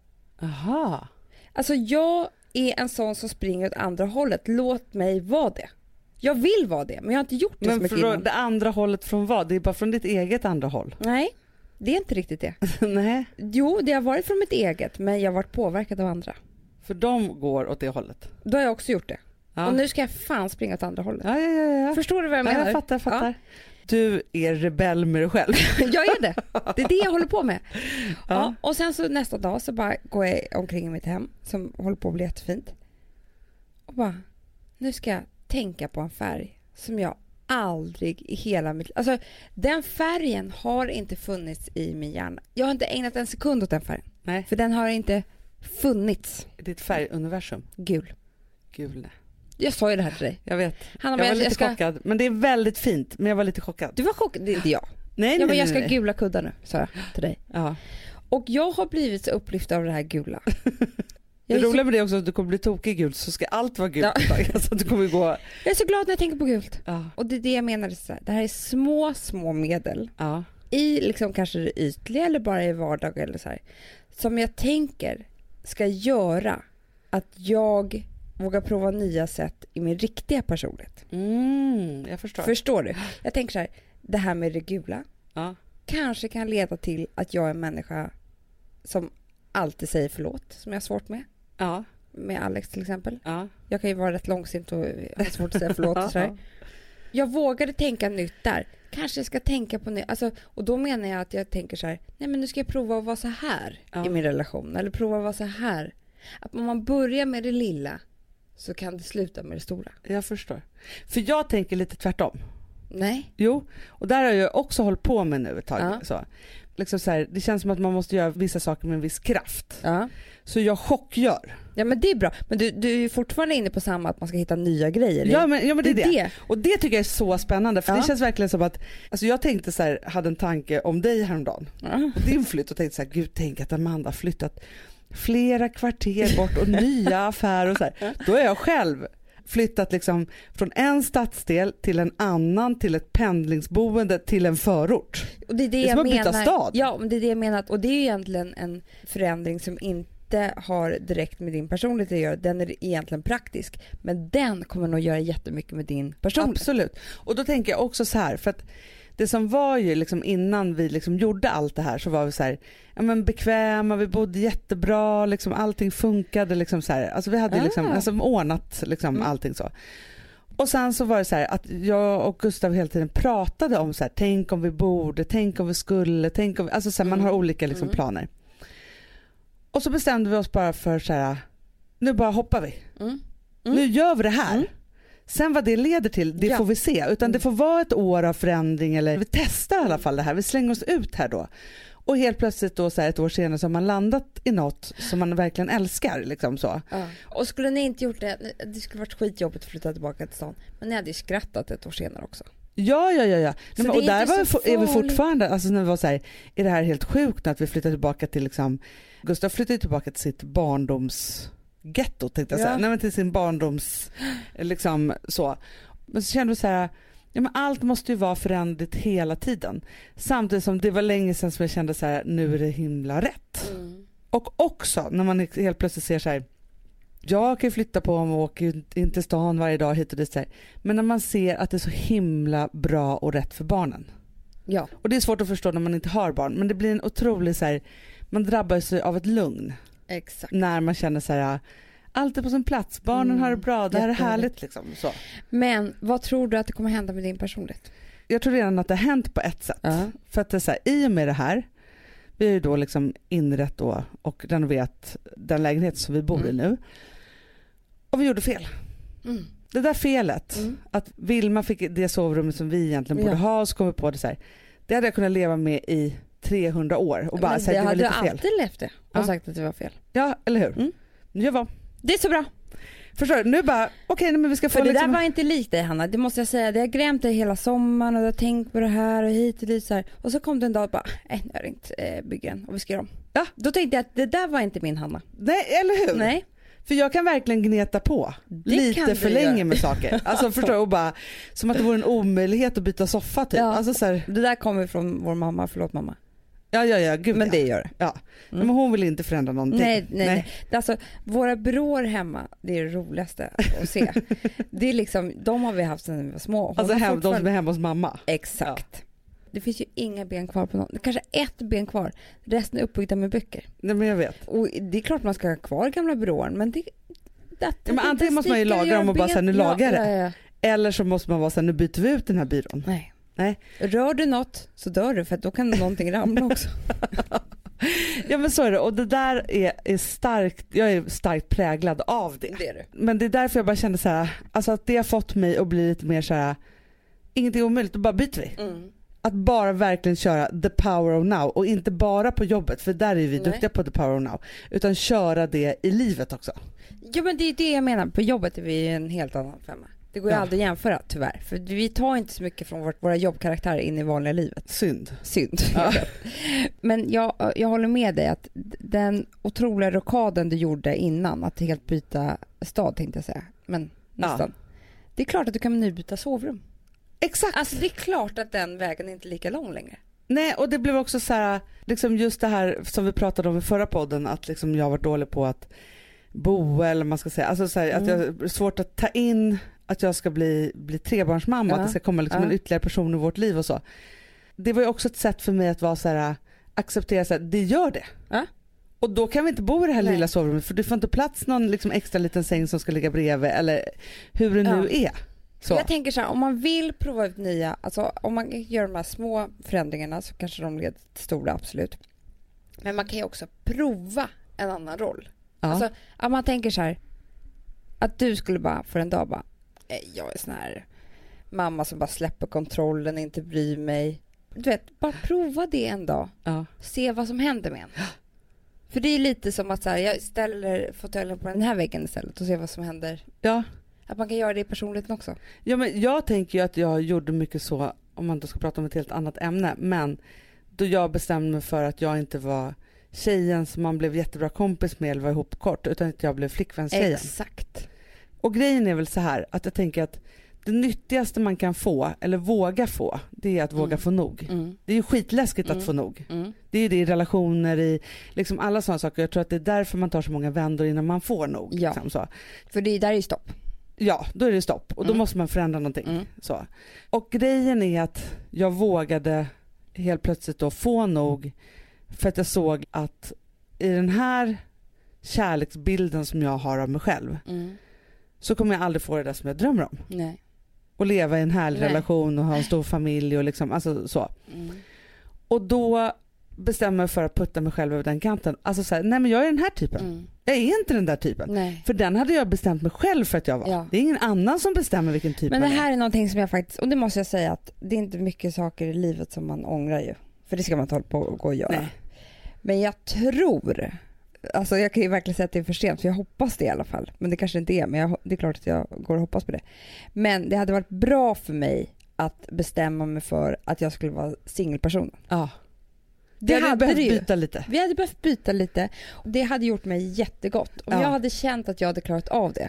[SPEAKER 1] Aha.
[SPEAKER 2] Alltså jag är en sån som springer åt andra hållet. Låt mig vara det. Jag vill vara det, men jag har inte gjort det så
[SPEAKER 1] Men
[SPEAKER 2] mycket
[SPEAKER 1] från
[SPEAKER 2] innan.
[SPEAKER 1] det andra hållet från vad? Det är bara från ditt eget andra håll?
[SPEAKER 2] Nej, det är inte riktigt det.
[SPEAKER 1] [laughs] Nej.
[SPEAKER 2] Jo, det har varit från mitt eget, men jag har varit påverkad av andra.
[SPEAKER 1] För de går åt det hållet?
[SPEAKER 2] Då har jag också gjort det.
[SPEAKER 1] Ja.
[SPEAKER 2] Och nu ska jag fan springa åt andra hållet.
[SPEAKER 1] Ja, ja, ja, ja.
[SPEAKER 2] Förstår du vad jag
[SPEAKER 1] ja,
[SPEAKER 2] menar?
[SPEAKER 1] jag fattar, jag fattar. Du är rebell med dig själv.
[SPEAKER 2] Ja, jag är det. Det är det jag håller på med.
[SPEAKER 1] Ja.
[SPEAKER 2] Ja, och sen så nästa dag så bara går jag omkring i mitt hem som håller på att bli jättefint. Och bara, nu ska jag tänka på en färg som jag aldrig i hela mitt Alltså den färgen har inte funnits i min hjärna. Jag har inte ägnat en sekund åt den färgen.
[SPEAKER 1] Nej.
[SPEAKER 2] För den har inte funnits
[SPEAKER 1] Ditt färguniversum.
[SPEAKER 2] gul.
[SPEAKER 1] Gul, nej.
[SPEAKER 2] Jag sa ju det här till dig.
[SPEAKER 1] Jag vet.
[SPEAKER 2] Hanna,
[SPEAKER 1] Jag
[SPEAKER 2] men
[SPEAKER 1] var
[SPEAKER 2] jag,
[SPEAKER 1] lite
[SPEAKER 2] jag ska...
[SPEAKER 1] chockad. Men det är väldigt fint. Men jag var lite chockad.
[SPEAKER 2] Du var chockad, det är inte jag.
[SPEAKER 1] Nej,
[SPEAKER 2] Ja,
[SPEAKER 1] nej,
[SPEAKER 2] men jag
[SPEAKER 1] nej,
[SPEAKER 2] ska
[SPEAKER 1] nej.
[SPEAKER 2] gula kuddar nu, sa jag till dig.
[SPEAKER 1] Ja.
[SPEAKER 2] Och jag har blivit så upplyft av det
[SPEAKER 1] [laughs]
[SPEAKER 2] här gula.
[SPEAKER 1] Det
[SPEAKER 2] Jag är, så,
[SPEAKER 1] roliga med det är också att du kommer bli tokig i gult så ska allt vara gult.
[SPEAKER 2] Ja.
[SPEAKER 1] [laughs] Alltså, du kommer gå...
[SPEAKER 2] jag är så glad när jag tänker på gult.
[SPEAKER 1] Ja.
[SPEAKER 2] Och det är det jag menar, så här, det här är små, små medel
[SPEAKER 1] ja.
[SPEAKER 2] i liksom kanske det ytliga eller bara i vardagen eller så här, som jag tänker ska göra att jag vågar prova nya sätt i min riktiga personlighet.
[SPEAKER 1] Mm, jag förstår.
[SPEAKER 2] Förstår du? Jag tänker så här, det här med det gula
[SPEAKER 1] Ja.
[SPEAKER 2] kanske kan leda till att jag är en människa som alltid säger förlåt, som jag har svårt med.
[SPEAKER 1] Ja,
[SPEAKER 2] Med Alex till exempel.
[SPEAKER 1] ja.
[SPEAKER 2] Jag kan ju vara rätt långsint och ha svårt att säga
[SPEAKER 1] [laughs]
[SPEAKER 2] förlåt och sådär. Jag vågade tänka nytt där. Kanske jag ska tänka på nytt. Alltså, och då menar jag att jag tänker så här, nej men nu ska jag prova att vara så här
[SPEAKER 1] Ja.
[SPEAKER 2] i min relation. Eller prova att vara så här. Att om man börjar med det lilla så kan det sluta med det stora.
[SPEAKER 1] Jag förstår. För jag tänker lite tvärtom.
[SPEAKER 2] Nej.
[SPEAKER 1] Jo, och där har jag också hållit på med nu ett tag.
[SPEAKER 2] Ja.
[SPEAKER 1] Så. Liksom så här, det känns som att man måste göra vissa saker med en viss kraft.
[SPEAKER 2] Ja.
[SPEAKER 1] Så jag chockgör.
[SPEAKER 2] ja men det är bra. Men du, du är ju fortfarande inne på samma att man ska hitta nya grejer.
[SPEAKER 1] Ja men, ja, men det är det.
[SPEAKER 2] det.
[SPEAKER 1] Och det tycker jag är så spännande för
[SPEAKER 2] Ja.
[SPEAKER 1] det känns verkligen som att, alltså jag tänkte så här, hade en tanke om dig häromdagen
[SPEAKER 2] Ja.
[SPEAKER 1] och din flytt och tänkte så här, gud tänk att Amanda har flyttat flera kvarter bort och [laughs] nya affärer och så här. Då är jag själv flyttat liksom från en stadsdel till en annan, till ett pendlingsboende, till en förort.
[SPEAKER 2] Och det är det,
[SPEAKER 1] är
[SPEAKER 2] jag
[SPEAKER 1] som att byta
[SPEAKER 2] menar.
[SPEAKER 1] stad.
[SPEAKER 2] Ja, men det är det jag menar. Och det är ju egentligen en förändring som inte har direkt med din personlighet att göra. Den är egentligen praktisk. Men den kommer nog göra jättemycket med din personlighet.
[SPEAKER 1] Absolut. Och då tänker jag också så här, för att det som var ju liksom innan vi liksom gjorde allt det här så var vi så här, ja men bekväma, vi bodde jättebra, liksom allting funkade liksom så här. Alltså vi hade ju liksom,
[SPEAKER 2] Ah.
[SPEAKER 1] alltså ordnat liksom
[SPEAKER 2] Mm.
[SPEAKER 1] allting så. Och sen så var det så här att jag och Gustav hela tiden pratade om så här, tänk om vi borde, tänk om vi skulle, tänk om vi, alltså så här, man
[SPEAKER 2] Mm.
[SPEAKER 1] har olika liksom
[SPEAKER 2] Mm.
[SPEAKER 1] planer. Och så bestämde vi oss bara för så här, nu bara hoppar vi.
[SPEAKER 2] Mm. Mm.
[SPEAKER 1] Nu gör vi det här.
[SPEAKER 2] Mm.
[SPEAKER 1] Sen vad det leder till, det
[SPEAKER 2] Ja.
[SPEAKER 1] får vi se. Utan det
[SPEAKER 2] Mm.
[SPEAKER 1] får vara ett år av förändring eller vi testar i alla fall det här. Vi slänger oss ut här då. Och helt plötsligt då så här ett år senare så har man landat i något som man verkligen älskar. Liksom så.
[SPEAKER 2] Ja. Och skulle ni inte gjort det, det skulle varit skitjobbigt att flytta tillbaka till stan. Men ni hade ju skrattat ett år senare också.
[SPEAKER 1] Ja, ja, ja. ja.
[SPEAKER 2] Så
[SPEAKER 1] Nej, men,
[SPEAKER 2] det
[SPEAKER 1] och
[SPEAKER 2] är
[SPEAKER 1] där
[SPEAKER 2] inte
[SPEAKER 1] var vi,
[SPEAKER 2] så
[SPEAKER 1] fo- är vi
[SPEAKER 2] farligt.
[SPEAKER 1] fortfarande, alltså när vi var så här, är det här helt sjukt att vi flyttar tillbaka till liksom, Gustav flyttade ju tillbaka till sitt barndomsgetto tänkte jag säga.
[SPEAKER 2] Ja.
[SPEAKER 1] Nej men till sin barndoms, liksom så. Men så kände vi så här, ja, Ja, men allt måste ju vara föränderligt hela tiden. Samtidigt som det var länge sedan som jag kände så här, nu är det himla rätt. Och också när man helt plötsligt ser så här, jag kan ju flytta på mig och åker ju in till stan varje dag hit och dit. Så här. Men när man ser att det är så himla bra och rätt för barnen.
[SPEAKER 2] Ja.
[SPEAKER 1] Och det är svårt att förstå när man inte har barn men det blir en otrolig så här, man drabbas ju av ett lugn
[SPEAKER 2] Exakt.
[SPEAKER 1] när man känner så här, allt är på sin plats, barnen
[SPEAKER 2] Mm,
[SPEAKER 1] har det bra, det här är
[SPEAKER 2] jättehärligt.
[SPEAKER 1] härligt liksom. Så.
[SPEAKER 2] Men vad tror du att det kommer hända med din personlighet?
[SPEAKER 1] Jag tror redan att det har hänt på ett sätt.
[SPEAKER 2] Ja.
[SPEAKER 1] För att det är så här, i och med det här, vi har ju då liksom inrett då och renoverat den lägenhet som vi bor i
[SPEAKER 2] Mm.
[SPEAKER 1] nu. Och vi gjorde fel.
[SPEAKER 2] Mm.
[SPEAKER 1] Det där felet,
[SPEAKER 2] Mm.
[SPEAKER 1] att Vilma fick det sovrummet som vi egentligen borde
[SPEAKER 2] Ja.
[SPEAKER 1] ha och så kom vi på det så här. Det hade jag kunnat leva med i 300 år och bara
[SPEAKER 2] Men
[SPEAKER 1] säga det var
[SPEAKER 2] hade
[SPEAKER 1] lite
[SPEAKER 2] du
[SPEAKER 1] fel.
[SPEAKER 2] alltid levt det och
[SPEAKER 1] Ja.
[SPEAKER 2] sagt att det var fel.
[SPEAKER 1] Ja, eller hur?
[SPEAKER 2] Mm.
[SPEAKER 1] Jag var.
[SPEAKER 2] Det är så bra.
[SPEAKER 1] Förstår du? Nu bara, okej nej, men vi ska få
[SPEAKER 2] För det
[SPEAKER 1] liksom...
[SPEAKER 2] där var inte likt dig Hanna, det måste jag säga. Det har grämt dig hela sommaren och du har tänkt på det här och hit och dit så här. Och så kom det en dag och bara, nej nu är det inte eh, byggen och vi ska göra om.
[SPEAKER 1] Ja.
[SPEAKER 2] Då tänkte jag att det där var inte min Hanna.
[SPEAKER 1] Nej, eller hur?
[SPEAKER 2] Nej,
[SPEAKER 1] För jag kan verkligen gneta på lite
[SPEAKER 2] kan
[SPEAKER 1] för
[SPEAKER 2] du
[SPEAKER 1] länge
[SPEAKER 2] göra.
[SPEAKER 1] med saker. [laughs] Alltså förstår du? Och bara, som att det vore en omöjlighet att byta soffa typ.
[SPEAKER 2] Ja.
[SPEAKER 1] Alltså så här,
[SPEAKER 2] det där kommer från vår mamma, förlåt mamma.
[SPEAKER 1] ja ja ja, gud
[SPEAKER 2] Men
[SPEAKER 1] ja.
[SPEAKER 2] det gör det.
[SPEAKER 1] Ja. Nej, Men hon vill inte förändra någonting.
[SPEAKER 2] Nej, nej, nej. Det är Alltså, våra byråer hemma, det är det roligaste att se. det är liksom, de har vi haft sedan vi var små. Hon
[SPEAKER 1] Alltså
[SPEAKER 2] har
[SPEAKER 1] hem, de
[SPEAKER 2] fortfarande-
[SPEAKER 1] som är hemma hos mamma.
[SPEAKER 2] Exakt. Det finns ju inga ben kvar på någon. Kanske ett ben kvar. Resten är uppbyggda med böcker.
[SPEAKER 1] Nej men jag vet.
[SPEAKER 2] Och det är klart man ska ha kvar gamla byråer men det... det
[SPEAKER 1] Ja, men antingen måste man ju laga dem och bara säga, nu lagar jag
[SPEAKER 2] det. Ja, ja.
[SPEAKER 1] Eller så måste man vara såhär, nu byter vi ut den här byrån.
[SPEAKER 2] Nej.
[SPEAKER 1] Nej.
[SPEAKER 2] Rör du något så dör du för att då kan någonting [laughs] ramla också.
[SPEAKER 1] Ja men så är det och det där är, är starkt, jag är starkt präglad av det.
[SPEAKER 2] det är du.
[SPEAKER 1] Men det är därför jag bara kände så här, alltså att det har fått mig att bli lite mer så här. ingenting är omöjligt, då bara byter vi.
[SPEAKER 2] Mm.
[SPEAKER 1] Att bara verkligen köra the power of now och inte bara på jobbet för där är vi
[SPEAKER 2] Nej.
[SPEAKER 1] duktiga på the power of now. Utan köra det i livet också.
[SPEAKER 2] Ja men det är det jag menar, på jobbet är vi ju en helt annan femma. Det går ju
[SPEAKER 1] Ja.
[SPEAKER 2] aldrig att jämföra tyvärr. För vi tar inte så mycket från vårt, våra jobbkaraktärer in i vanliga livet.
[SPEAKER 1] Synd.
[SPEAKER 2] Synd. jag vet. [laughs] Men jag, jag håller med dig att den otroliga rockaden du gjorde innan, att helt byta stad tänkte jag säga. Men nästan. Det är klart att du kan nu byta sovrum.
[SPEAKER 1] Exakt.
[SPEAKER 2] Alltså det är klart att den vägen inte är lika lång längre.
[SPEAKER 1] Nej och det blev också så här, liksom just det här som vi pratade om i förra podden att liksom jag har varit dålig på att bo eller vad man ska säga. Alltså så här, att
[SPEAKER 2] Mm.
[SPEAKER 1] jag det är svårt att ta in att jag ska bli, bli trebarnsmamma,
[SPEAKER 2] Ja.
[SPEAKER 1] att det ska komma liksom
[SPEAKER 2] Ja.
[SPEAKER 1] en ytterligare person i vårt liv och så. Det var ju också ett sätt för mig att vara så här, acceptera så här, det gör det.
[SPEAKER 2] Ja.
[SPEAKER 1] Och då kan vi inte bo i det här
[SPEAKER 2] Nej.
[SPEAKER 1] lilla sovrummet för du får inte plats någon liksom extra liten säng som ska ligga bredvid eller hur det nu är. Så.
[SPEAKER 2] Jag tänker så här, om man vill prova ut nya, alltså om man gör de här små förändringarna så kanske de leder till stora, absolut. Men man kan ju också prova en annan roll.
[SPEAKER 1] Ja.
[SPEAKER 2] Alltså att man tänker så här, att du skulle bara för en dag bara, "Nej, jag är sån här mamma som bara släpper kontrollen, inte bryr mig. Du vet, bara prova det en dag,
[SPEAKER 1] ja.
[SPEAKER 2] se vad som händer med en. För det är lite som att så här, jag ställer fåtöljen på den här väggen istället och ser vad som händer.
[SPEAKER 1] ja.
[SPEAKER 2] Att man kan göra det i personligheten också.
[SPEAKER 1] Ja, men jag tänker ju att jag gjorde mycket så, om man då ska prata om ett helt annat ämne, men då jag bestämde mig för att jag inte var tjejen som man blev jättebra kompis med eller var ihop kort, utan att jag blev flickvänstjejen.
[SPEAKER 2] Exakt.
[SPEAKER 1] Och grejen är väl så här att jag tänker att det nyttigaste man kan få, eller våga få, det är att våga
[SPEAKER 2] Mm.
[SPEAKER 1] få nog. Det är ju skitläskigt
[SPEAKER 2] Mm.
[SPEAKER 1] att få nog. Det är ju det i relationer, i liksom alla sådana saker. Jag tror att det är därför man tar så många vändor innan man får nog.
[SPEAKER 2] Ja.
[SPEAKER 1] Liksom så.
[SPEAKER 2] För det där är ju stopp.
[SPEAKER 1] ja, då är det stopp och då
[SPEAKER 2] Mm.
[SPEAKER 1] måste man förändra någonting. Så. Och grejen är att jag vågade helt plötsligt då få nog för att jag såg att i den här kärleksbilden som jag har av mig själv så kommer jag aldrig få det där som jag drömmer om.
[SPEAKER 2] mm. Nej.
[SPEAKER 1] Och leva i en härlig
[SPEAKER 2] Nej.
[SPEAKER 1] relation och ha en stor familj och liksom, alltså så.
[SPEAKER 2] Mm,
[SPEAKER 1] Och då bestämmer jag mig för att putta mig själv över den kanten. Alltså såhär, nej men jag är den här typen.
[SPEAKER 2] Mm.
[SPEAKER 1] Jag är inte den där typen.
[SPEAKER 2] Nej.
[SPEAKER 1] För den hade jag bestämt mig själv för att jag var.
[SPEAKER 2] Ja.
[SPEAKER 1] Det är ingen annan som bestämmer vilken typ
[SPEAKER 2] Men det
[SPEAKER 1] man är.
[SPEAKER 2] här är någonting som jag faktiskt, och det måste jag säga att det är inte mycket saker i livet som man ångrar ju. För det ska man inte hålla på och gå och göra.
[SPEAKER 1] Nej.
[SPEAKER 2] Men jag tror, alltså jag kan ju verkligen säga att det är för sent, för jag hoppas det i alla fall. Men det kanske inte är, men jag, det är klart att jag går och hoppas på det. Men det hade varit bra för mig att bestämma mig för att jag skulle vara singelperson.
[SPEAKER 1] Ja.
[SPEAKER 2] Det
[SPEAKER 1] jag
[SPEAKER 2] hade
[SPEAKER 1] behövt
[SPEAKER 2] du ju.
[SPEAKER 1] byta lite.
[SPEAKER 2] Vi hade behövt byta lite och det hade gjort mig jättegott. Om
[SPEAKER 1] Ja.
[SPEAKER 2] jag hade känt att jag hade klarat av det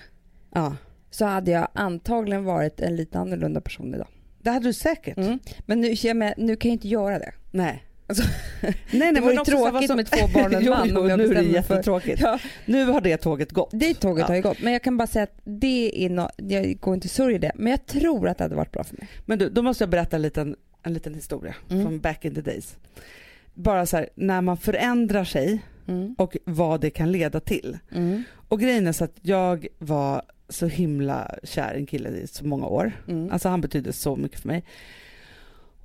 [SPEAKER 1] Ja.
[SPEAKER 2] så hade jag antagligen varit en lite annorlunda person idag.
[SPEAKER 1] Det hade du säkert.
[SPEAKER 2] Mm. Men nu, jag med, nu kan jag inte göra det.
[SPEAKER 1] Nej.
[SPEAKER 2] [laughs] Alltså,
[SPEAKER 1] nej,
[SPEAKER 2] det
[SPEAKER 1] nej
[SPEAKER 2] var ju
[SPEAKER 1] men också så här, vad
[SPEAKER 2] tråkigt
[SPEAKER 1] som-
[SPEAKER 2] med två barn [laughs] och en
[SPEAKER 1] Jo,
[SPEAKER 2] man,
[SPEAKER 1] jo,
[SPEAKER 2] om jag
[SPEAKER 1] nu är det
[SPEAKER 2] bestämmer mig för-
[SPEAKER 1] jättetråkigt.
[SPEAKER 2] Ja.
[SPEAKER 1] Nu har det tåget gått.
[SPEAKER 2] Det tåget
[SPEAKER 1] Ja.
[SPEAKER 2] har ju gått. Men jag kan bara säga att det är no, jag går inte och sörjer det. Men jag tror att det hade varit bra för mig.
[SPEAKER 1] Men du, då måste jag berätta en liten, en liten historia
[SPEAKER 2] Mm.
[SPEAKER 1] från back in the days. Bara så här, när man förändrar sig och vad det kan leda till.
[SPEAKER 2] Mm.
[SPEAKER 1] Och grejen är så att jag var så himla kär i en kille i så många år.
[SPEAKER 2] Mm.
[SPEAKER 1] Alltså han betydde så mycket för mig.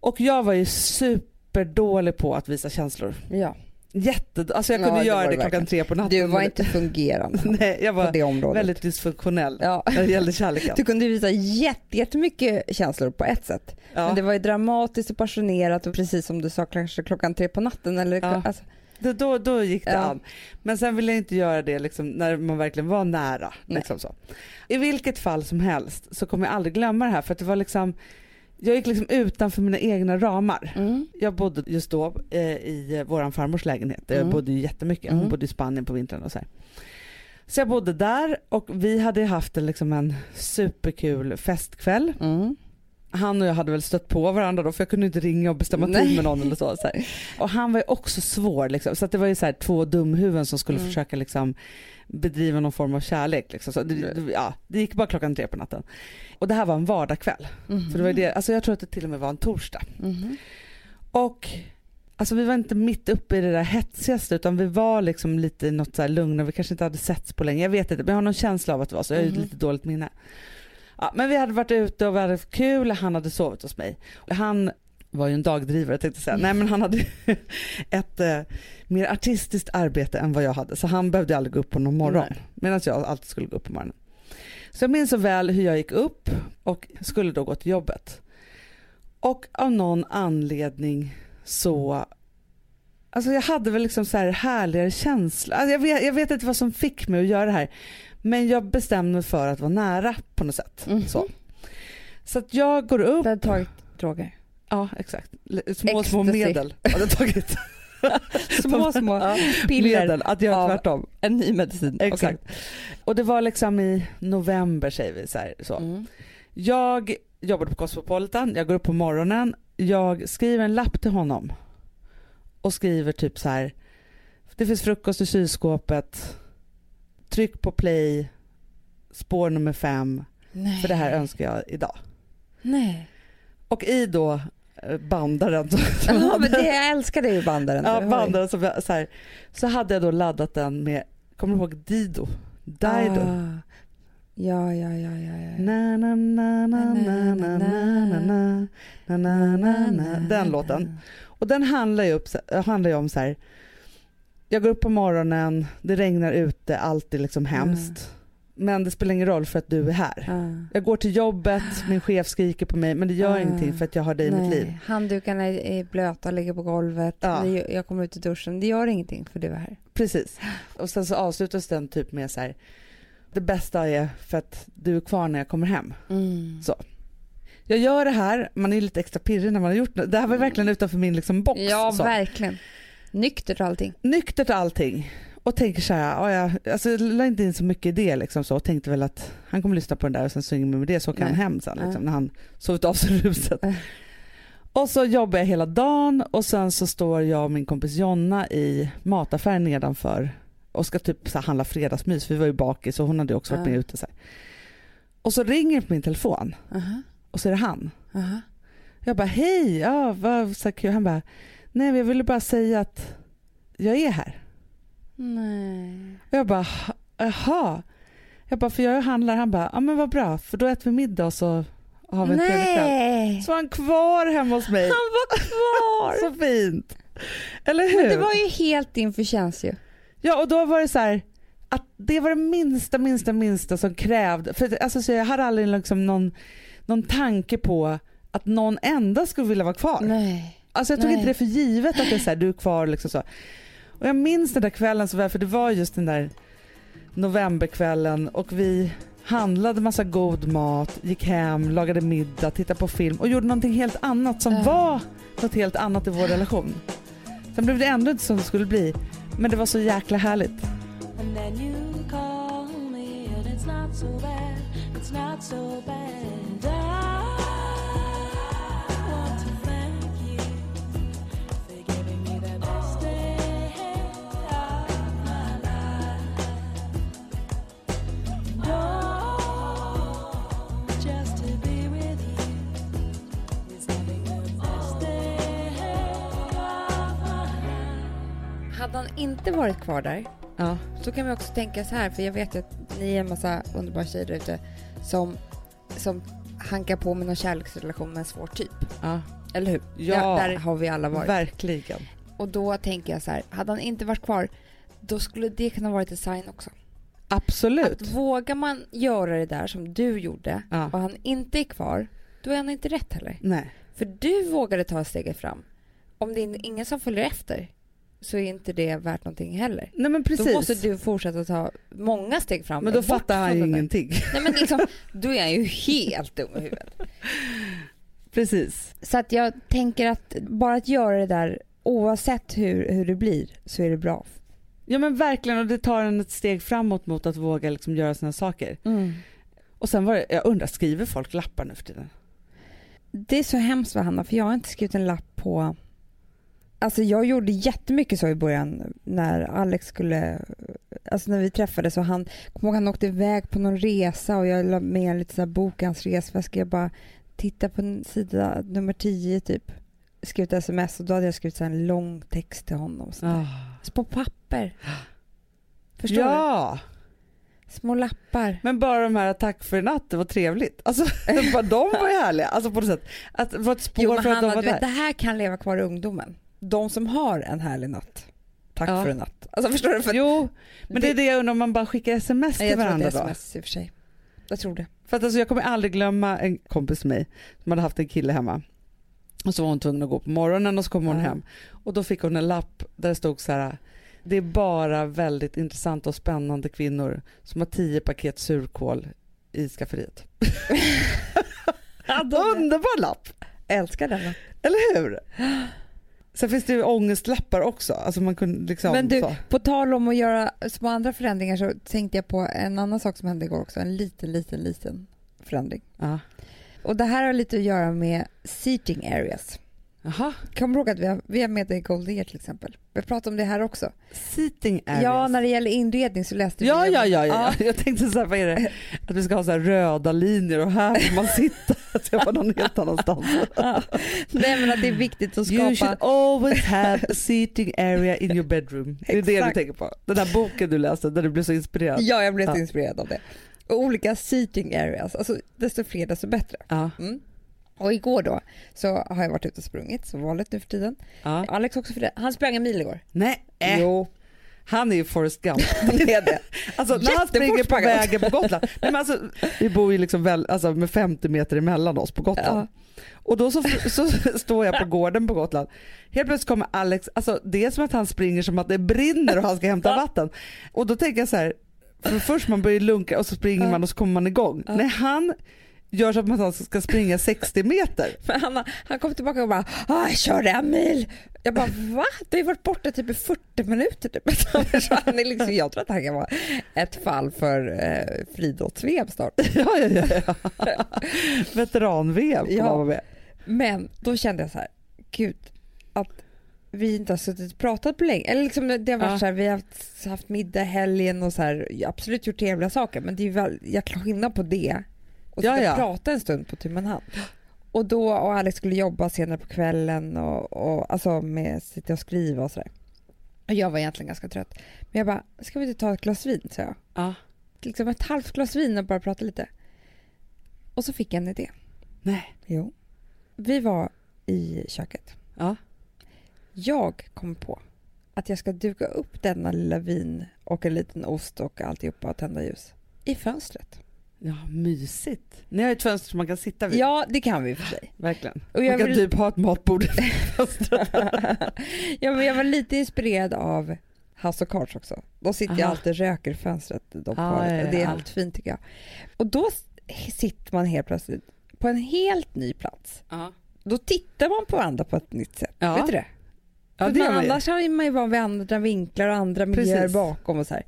[SPEAKER 1] Och jag var ju superdålig på att visa känslor.
[SPEAKER 2] Ja.
[SPEAKER 1] Jätte, alltså jag
[SPEAKER 2] Ja,
[SPEAKER 1] kunde
[SPEAKER 2] det
[SPEAKER 1] göra
[SPEAKER 2] var
[SPEAKER 1] det,
[SPEAKER 2] du
[SPEAKER 1] klockan
[SPEAKER 2] verkligen.
[SPEAKER 1] tre på natten.
[SPEAKER 2] Du var inte fungerande
[SPEAKER 1] [laughs] Nej, jag
[SPEAKER 2] på
[SPEAKER 1] var
[SPEAKER 2] [laughs] det området.
[SPEAKER 1] väldigt dysfunktionell
[SPEAKER 2] Ja.
[SPEAKER 1] när det gällde kärleken.
[SPEAKER 2] Du kunde visa jätte, jättemycket känslor på ett sätt.
[SPEAKER 1] Ja.
[SPEAKER 2] Men det var ju dramatiskt och passionerat och precis som du sa kanske klockan tre på natten. Eller,
[SPEAKER 1] Ja.
[SPEAKER 2] alltså,
[SPEAKER 1] Då, då, då gick det
[SPEAKER 2] Ja.
[SPEAKER 1] an. Men sen ville jag inte göra det liksom, när man verkligen var nära.
[SPEAKER 2] Nej.
[SPEAKER 1] Liksom så. I vilket fall som helst så kommer jag aldrig glömma det här för att det var liksom, jag gick liksom utanför mina egna ramar.
[SPEAKER 2] mm.
[SPEAKER 1] Jag bodde just då eh, i eh, våran farmors lägenhet. Jag
[SPEAKER 2] Mm.
[SPEAKER 1] bodde ju jättemycket. Hon
[SPEAKER 2] Mm.
[SPEAKER 1] bodde i Spanien på vintern och så här. Så jag bodde där och vi hade haft en, liksom en superkul festkväll.
[SPEAKER 2] Mm.
[SPEAKER 1] Han och jag hade väl stött på varandra då för jag kunde inte ringa och bestämma tid
[SPEAKER 2] Nej.
[SPEAKER 1] med någon eller så. så här. Och han var ju också svår liksom. Så att det var ju så här, två dumhuvuden som skulle
[SPEAKER 2] Mm.
[SPEAKER 1] försöka liksom, bedriva någon form av kärlek. Liksom. Så det,
[SPEAKER 2] Mm.
[SPEAKER 1] det, ja, det gick bara klockan tre på natten. Och det här var en vardagskväll.
[SPEAKER 2] Mhm.
[SPEAKER 1] För det var ju det, alltså jag tror att det till och med var Mm. en torsdag.
[SPEAKER 2] Mhm.
[SPEAKER 1] Och alltså, vi var inte mitt uppe i det där hetsigaste utan vi var liksom lite i något så här lugn och vi kanske inte hade setts på länge. Jag vet inte men jag har någon känsla av att det var så. Jag har ju
[SPEAKER 2] Mhm.
[SPEAKER 1] lite dåligt minne. Ja, men vi hade varit ute och vi hade haft kul. Han hade sovit hos mig. Han var ju en dagdrivare tänkte jag säga. Nej men han hade ju [laughs] ett eh, mer artistiskt arbete än vad jag hade så han behövde aldrig gå upp på någon morgon. Medan jag alltid skulle gå upp på morgonen. Så jag minns så väl hur jag gick upp och skulle då gå till jobbet. Och av någon anledning så Alltså jag hade väl liksom så här härligare känsla. Alltså jag, vet, jag vet inte vad som fick mig att göra det här. Men jag bestämde mig för att vara nära på något sätt.
[SPEAKER 2] Mhm.
[SPEAKER 1] Så. så att jag går upp.
[SPEAKER 2] Du hade tagit droger.
[SPEAKER 1] Ja exakt. L- Små små
[SPEAKER 2] Ecstasy.
[SPEAKER 1] medel hade jag tagit.
[SPEAKER 2] Små, små
[SPEAKER 1] [laughs] Ja,
[SPEAKER 2] piller.
[SPEAKER 1] Medel, att göra
[SPEAKER 2] av-
[SPEAKER 1] tvärtom.
[SPEAKER 2] En ny medicin.
[SPEAKER 1] Exakt. Och det var liksom i november säger vi. Så här, så.
[SPEAKER 2] Okej. Mm.
[SPEAKER 1] Jag jobbade på Cosmopolitan, jag går upp på morgonen, jag skriver en lapp till honom och skriver typ så här. Det finns frukost i kylskåpet, tryck på play, spår nummer fem,
[SPEAKER 2] Nej.
[SPEAKER 1] för det här önskar jag idag.
[SPEAKER 2] Nej.
[SPEAKER 1] Och i då eh, bandaren, som jag
[SPEAKER 2] [laughs] Ja,
[SPEAKER 1] hade-
[SPEAKER 2] men det, jag älskar dig i bandaren.
[SPEAKER 1] ja,
[SPEAKER 2] Du har ju-
[SPEAKER 1] bandaren som jag, så, här, så hade jag då laddat den med, kommer du ihåg Dido? Dido.
[SPEAKER 2] Ah. Ja, ja, ja, ja. ja.
[SPEAKER 1] Na, na, na, na, na, na, na, na, na, na, na, na. Den låten. Och den handlar ju, upp, handlar ju om så här. Jag går upp på morgonen, det regnar ute, allt är liksom hemskt. Men det spelar ingen roll för att du är här.
[SPEAKER 2] Ah.
[SPEAKER 1] Jag går till jobbet, min chef skriker på mig men det gör
[SPEAKER 2] Ah.
[SPEAKER 1] ingenting för att jag har dig i mitt liv.
[SPEAKER 2] Handdukarna är- är blöta och ligger på golvet.
[SPEAKER 1] Ja.
[SPEAKER 2] Det gör- Jag kommer ut ur duschen. Det gör ingenting för du är här.
[SPEAKER 1] Precis. Och sen så avslutas den typ med så här. Det bästa är för att du är kvar när jag kommer hem.
[SPEAKER 2] Mm.
[SPEAKER 1] Så. Jag gör det här, man är lite extra pirrig när man har gjort det. Det här var verkligen utanför min liksom box.
[SPEAKER 2] Ja,
[SPEAKER 1] så.
[SPEAKER 2] verkligen. Nyktert och allting.
[SPEAKER 1] nyktert allting och tänker så här, ja, jag, alltså, jag la inte in så mycket i det liksom så och tänkte väl att han kommer lyssna på den där och sen så inget mer med det så åker
[SPEAKER 2] Nej.
[SPEAKER 1] han hem sen liksom,
[SPEAKER 2] Nej.
[SPEAKER 1] när han sovit av sig ruset.
[SPEAKER 2] Nej.
[SPEAKER 1] Och så jobbar jag hela dagen och sen så står jag och min kompis Jonna i mataffären nedanför och ska typ så här, handla fredagsmys, vi var ju bakis och hon hade ju också varit
[SPEAKER 2] Ja.
[SPEAKER 1] med ute. Så här. Och så ringer det på min telefon
[SPEAKER 2] Aha,
[SPEAKER 1] och så är det han.
[SPEAKER 2] aha.
[SPEAKER 1] Jag bara hej, ja vad så här kul. Han bara nej men jag ville bara säga att jag är här.
[SPEAKER 2] Nej.
[SPEAKER 1] Och jag bara, jaha. Jag bara, för jag handlar. Han bara, ja men vad bra för då äter vi middag och så har vi en trevlig kväll.
[SPEAKER 2] Nej.
[SPEAKER 1] Så var han kvar hemma hos mig.
[SPEAKER 2] Han var kvar. [laughs]
[SPEAKER 1] Så fint. Eller hur?
[SPEAKER 2] Men det var ju helt din förtjänst ju.
[SPEAKER 1] Ja och då var det så här att det var det minsta, minsta, minsta som krävde. För att, alltså, så jag hade aldrig liksom någon, någon tanke på att någon enda skulle vilja vara kvar.
[SPEAKER 2] Nej.
[SPEAKER 1] Alltså jag tog
[SPEAKER 2] Nej.
[SPEAKER 1] inte det för givet att det är så här, du är kvar liksom så. Och jag minns den där kvällen så väl för det var just den där novemberkvällen och vi handlade massa god mat, gick hem, lagade middag, tittade på film och gjorde någonting helt annat som
[SPEAKER 2] Ja.
[SPEAKER 1] var något helt annat i vår relation. Sen blev det ändå inte som det skulle bli men det var så jäkla härligt.
[SPEAKER 5] And then you call me, and it's not so bad, it's not so bad. I Oh,
[SPEAKER 2] Hade han inte varit kvar där
[SPEAKER 1] Ja.
[SPEAKER 2] så kan vi också tänka så här, för jag vet ju att ni är en massa underbara tjejer där ute som, som hankar på med någon kärleksrelation med en svår typ.
[SPEAKER 1] Ja.
[SPEAKER 2] Eller hur?
[SPEAKER 1] Ja.
[SPEAKER 2] där har vi alla varit.
[SPEAKER 1] Verkligen.
[SPEAKER 2] Och då tänker jag så här, hade han inte varit kvar, då skulle det kunna varit en sign också.
[SPEAKER 1] Absolut.
[SPEAKER 2] Att vågar man göra det där som du gjorde
[SPEAKER 1] Ja.
[SPEAKER 2] och han inte är kvar, då är han inte rätt heller.
[SPEAKER 1] Nej.
[SPEAKER 2] För du vågade ta steget fram. Om det är ingen som följer efter så är inte det värt någonting heller.
[SPEAKER 1] Nej men precis.
[SPEAKER 2] Då måste du fortsätta ta många steg fram.
[SPEAKER 1] Men då
[SPEAKER 2] bort
[SPEAKER 1] fattar han
[SPEAKER 2] från
[SPEAKER 1] ju
[SPEAKER 2] den där.
[SPEAKER 1] ingenting.
[SPEAKER 2] Nej, men liksom, då är han ju helt dum i huvudet.
[SPEAKER 1] Precis.
[SPEAKER 2] Så att jag tänker att bara att göra det där oavsett hur, hur det blir så är det bra.
[SPEAKER 1] Ja men verkligen och det tar en ett steg framåt mot att våga liksom göra sina saker. Och sen var det, jag undrar, skriver folk lappar nu för tiden?
[SPEAKER 2] Det är så hemskt va Hanna, för jag har inte skrivit en lapp på... Alltså jag gjorde jättemycket så i början när Alex skulle... Alltså när vi träffades och han... Kommer ihåg han åkte iväg på någon resa och jag la med lite så här bok i hans resväska. Jag bara titta på en sida nummer 10 typ. Skrev ett sms och då hade jag skrivit så här en lång text till honom. Så där. Så på papper. Förstår
[SPEAKER 1] ja,
[SPEAKER 2] du? Små lappar.
[SPEAKER 1] men bara de här tack för i natt, det var trevligt. Alltså [laughs] bara de var ju härliga. Alltså på något sätt. Att det var ett spår
[SPEAKER 2] Jo men
[SPEAKER 1] för att de
[SPEAKER 2] Hanna,
[SPEAKER 1] var
[SPEAKER 2] du vet, det
[SPEAKER 1] där.
[SPEAKER 2] här kan leva kvar i ungdomen. De som har en härlig natt. Tack
[SPEAKER 1] Ja.
[SPEAKER 2] för en natt. Alltså förstår du? För
[SPEAKER 1] Jo, men det är det jag undrar om man bara skickar sms
[SPEAKER 2] Nej,
[SPEAKER 1] till
[SPEAKER 2] jag tror att det
[SPEAKER 1] varandra
[SPEAKER 2] är
[SPEAKER 1] då.
[SPEAKER 2] sms i och för sig. Jag tror det.
[SPEAKER 1] För att alltså, jag kommer aldrig glömma en kompis till mig som hade haft en kille hemma. Och så var hon tvungen att gå på morgonen och så kom hon
[SPEAKER 2] Ja.
[SPEAKER 1] hem. Och då fick hon en lapp där det stod så här. Det är bara väldigt intressanta och spännande kvinnor som har tio paket surkål i
[SPEAKER 2] [laughs]
[SPEAKER 1] skafferiet. Underbar lapp!
[SPEAKER 2] Jag älskar den. lappen.
[SPEAKER 1] Eller hur? Sen finns det ju ångestlappar också. Alltså man kunde liksom
[SPEAKER 2] Men du-
[SPEAKER 1] så.
[SPEAKER 2] På tal om att göra små andra förändringar så tänkte jag på en annan sak som hände igår också. En liten, liten, liten förändring.
[SPEAKER 1] Ja.
[SPEAKER 2] Och det här har lite att göra med seating areas.
[SPEAKER 1] Jaha,
[SPEAKER 2] Kommer du ihåg att vi har, vi har med det i Gold Ear till exempel? Vi pratar om det här också.
[SPEAKER 1] seating areas.
[SPEAKER 2] Ja, när det gäller inredning så läste vi
[SPEAKER 1] Ja,
[SPEAKER 2] om-
[SPEAKER 1] ja, ja, ja. Jag tänkte så här, vad är det? Att vi ska ha så här röda linjer och här får man sitta. [laughs] Att jag var någon helt annanstans. [laughs]
[SPEAKER 2] Nej, men att det är viktigt att
[SPEAKER 1] You
[SPEAKER 2] skapa
[SPEAKER 1] should always have a seating area in your bedroom. [laughs] Det är det du
[SPEAKER 2] Exakt.
[SPEAKER 1] tänker på. Den där boken du läste där du blev så inspirerad.
[SPEAKER 2] Ja, jag blev
[SPEAKER 1] Ja.
[SPEAKER 2] så inspirerad av det. Och olika seating areas, alltså desto fler desto bättre.
[SPEAKER 1] Ja.
[SPEAKER 2] Mm. Och igår då så har jag varit ute och sprungit som vanligt nu för tiden.
[SPEAKER 1] Ja.
[SPEAKER 2] Alex också för det. Han sprang en mil igår.
[SPEAKER 1] Nej, äh.
[SPEAKER 2] Jo,
[SPEAKER 1] han är ju Forrest Gump.
[SPEAKER 2] det är det.
[SPEAKER 1] Alltså, när han
[SPEAKER 2] Jättefort
[SPEAKER 1] springer på
[SPEAKER 2] sprang han.
[SPEAKER 1] vägen på Gotland. Nej, men alltså, [laughs] vi bor ju liksom väl, alltså, med 50 meter emellan oss på Gotland.
[SPEAKER 2] Ja.
[SPEAKER 1] Och då så, så [laughs] står jag på gården på Gotland. Helt plötsligt kommer Alex, alltså det är som att han springer som att det brinner och han ska hämta vatten. Och då tänker jag så här, för först man börjar lunka och så springer
[SPEAKER 2] Ja.
[SPEAKER 1] man och så kommer man igång.
[SPEAKER 2] Ja.
[SPEAKER 1] När han gör så att man ska springa 60 meter.
[SPEAKER 2] Men han, han kom tillbaka och bara ah, “jag körde en mil”. Jag bara “va? Du har ju varit borta typ i 40 minuter”. Typ. [laughs] Så han är liksom, jag tror att han kan vara ett fall för eh, friidrotts-VM snart.
[SPEAKER 1] [laughs] Ja, ja, ja. ja. [laughs] Veteran-VM kommer
[SPEAKER 2] Ja.
[SPEAKER 1] han vara med.
[SPEAKER 2] Men då kände jag så här, gud att vi inte har suttit och pratat på länge. Eller liksom det har varit
[SPEAKER 1] Ja.
[SPEAKER 2] så här, vi har haft, haft middag i helgen och så här, jag har absolut gjort trevliga saker men det är ju väl jäkla skillnad på det och
[SPEAKER 1] Ja,
[SPEAKER 2] sitta
[SPEAKER 1] ja.
[SPEAKER 2] och prata en stund på tu man hand. Och då, och Alex skulle jobba senare på kvällen och, och alltså med sitta och skriva och sådär. Och jag var egentligen ganska trött. Men jag bara, ska vi inte ta ett glas vin? sa jag.
[SPEAKER 1] Ja.
[SPEAKER 2] Liksom ett halvt glas vin och bara prata lite. Och så fick jag en idé.
[SPEAKER 1] Nej.
[SPEAKER 2] Jo. Vi var i köket.
[SPEAKER 1] Ja.
[SPEAKER 2] Jag kom på att jag ska duka upp denna lilla vin och en liten ost och alltihopa och tända ljus i fönstret.
[SPEAKER 1] Ja, mysigt. Ni har ju ett fönster som man kan sitta vid.
[SPEAKER 2] Ja, det kan vi i och för sig.
[SPEAKER 1] Verkligen.
[SPEAKER 2] Och
[SPEAKER 1] Man
[SPEAKER 2] jag,
[SPEAKER 1] kan
[SPEAKER 2] vill,
[SPEAKER 1] typ ha ett matbord i fönstret.
[SPEAKER 2] [laughs] ja, men jag var lite inspirerad av House of Cards också. Då sitter jag
[SPEAKER 1] Aha.
[SPEAKER 2] alltid och röker i fönstret. De
[SPEAKER 1] Ah,
[SPEAKER 2] paret.
[SPEAKER 1] ja, ja,
[SPEAKER 2] Det är
[SPEAKER 1] ja.
[SPEAKER 2] allt fint tycker jag. Och då s- sitter man helt plötsligt på en helt ny plats.
[SPEAKER 1] Ja.
[SPEAKER 2] Då tittar man på varandra på ett nytt sätt.
[SPEAKER 1] Ja.
[SPEAKER 2] Vet du det?
[SPEAKER 1] Ja,
[SPEAKER 2] För
[SPEAKER 1] det gör
[SPEAKER 2] man,
[SPEAKER 1] man ju.
[SPEAKER 2] annars har man ju van vid andra vinklar och andra miljöer
[SPEAKER 1] Precis.
[SPEAKER 2] bakom och så här.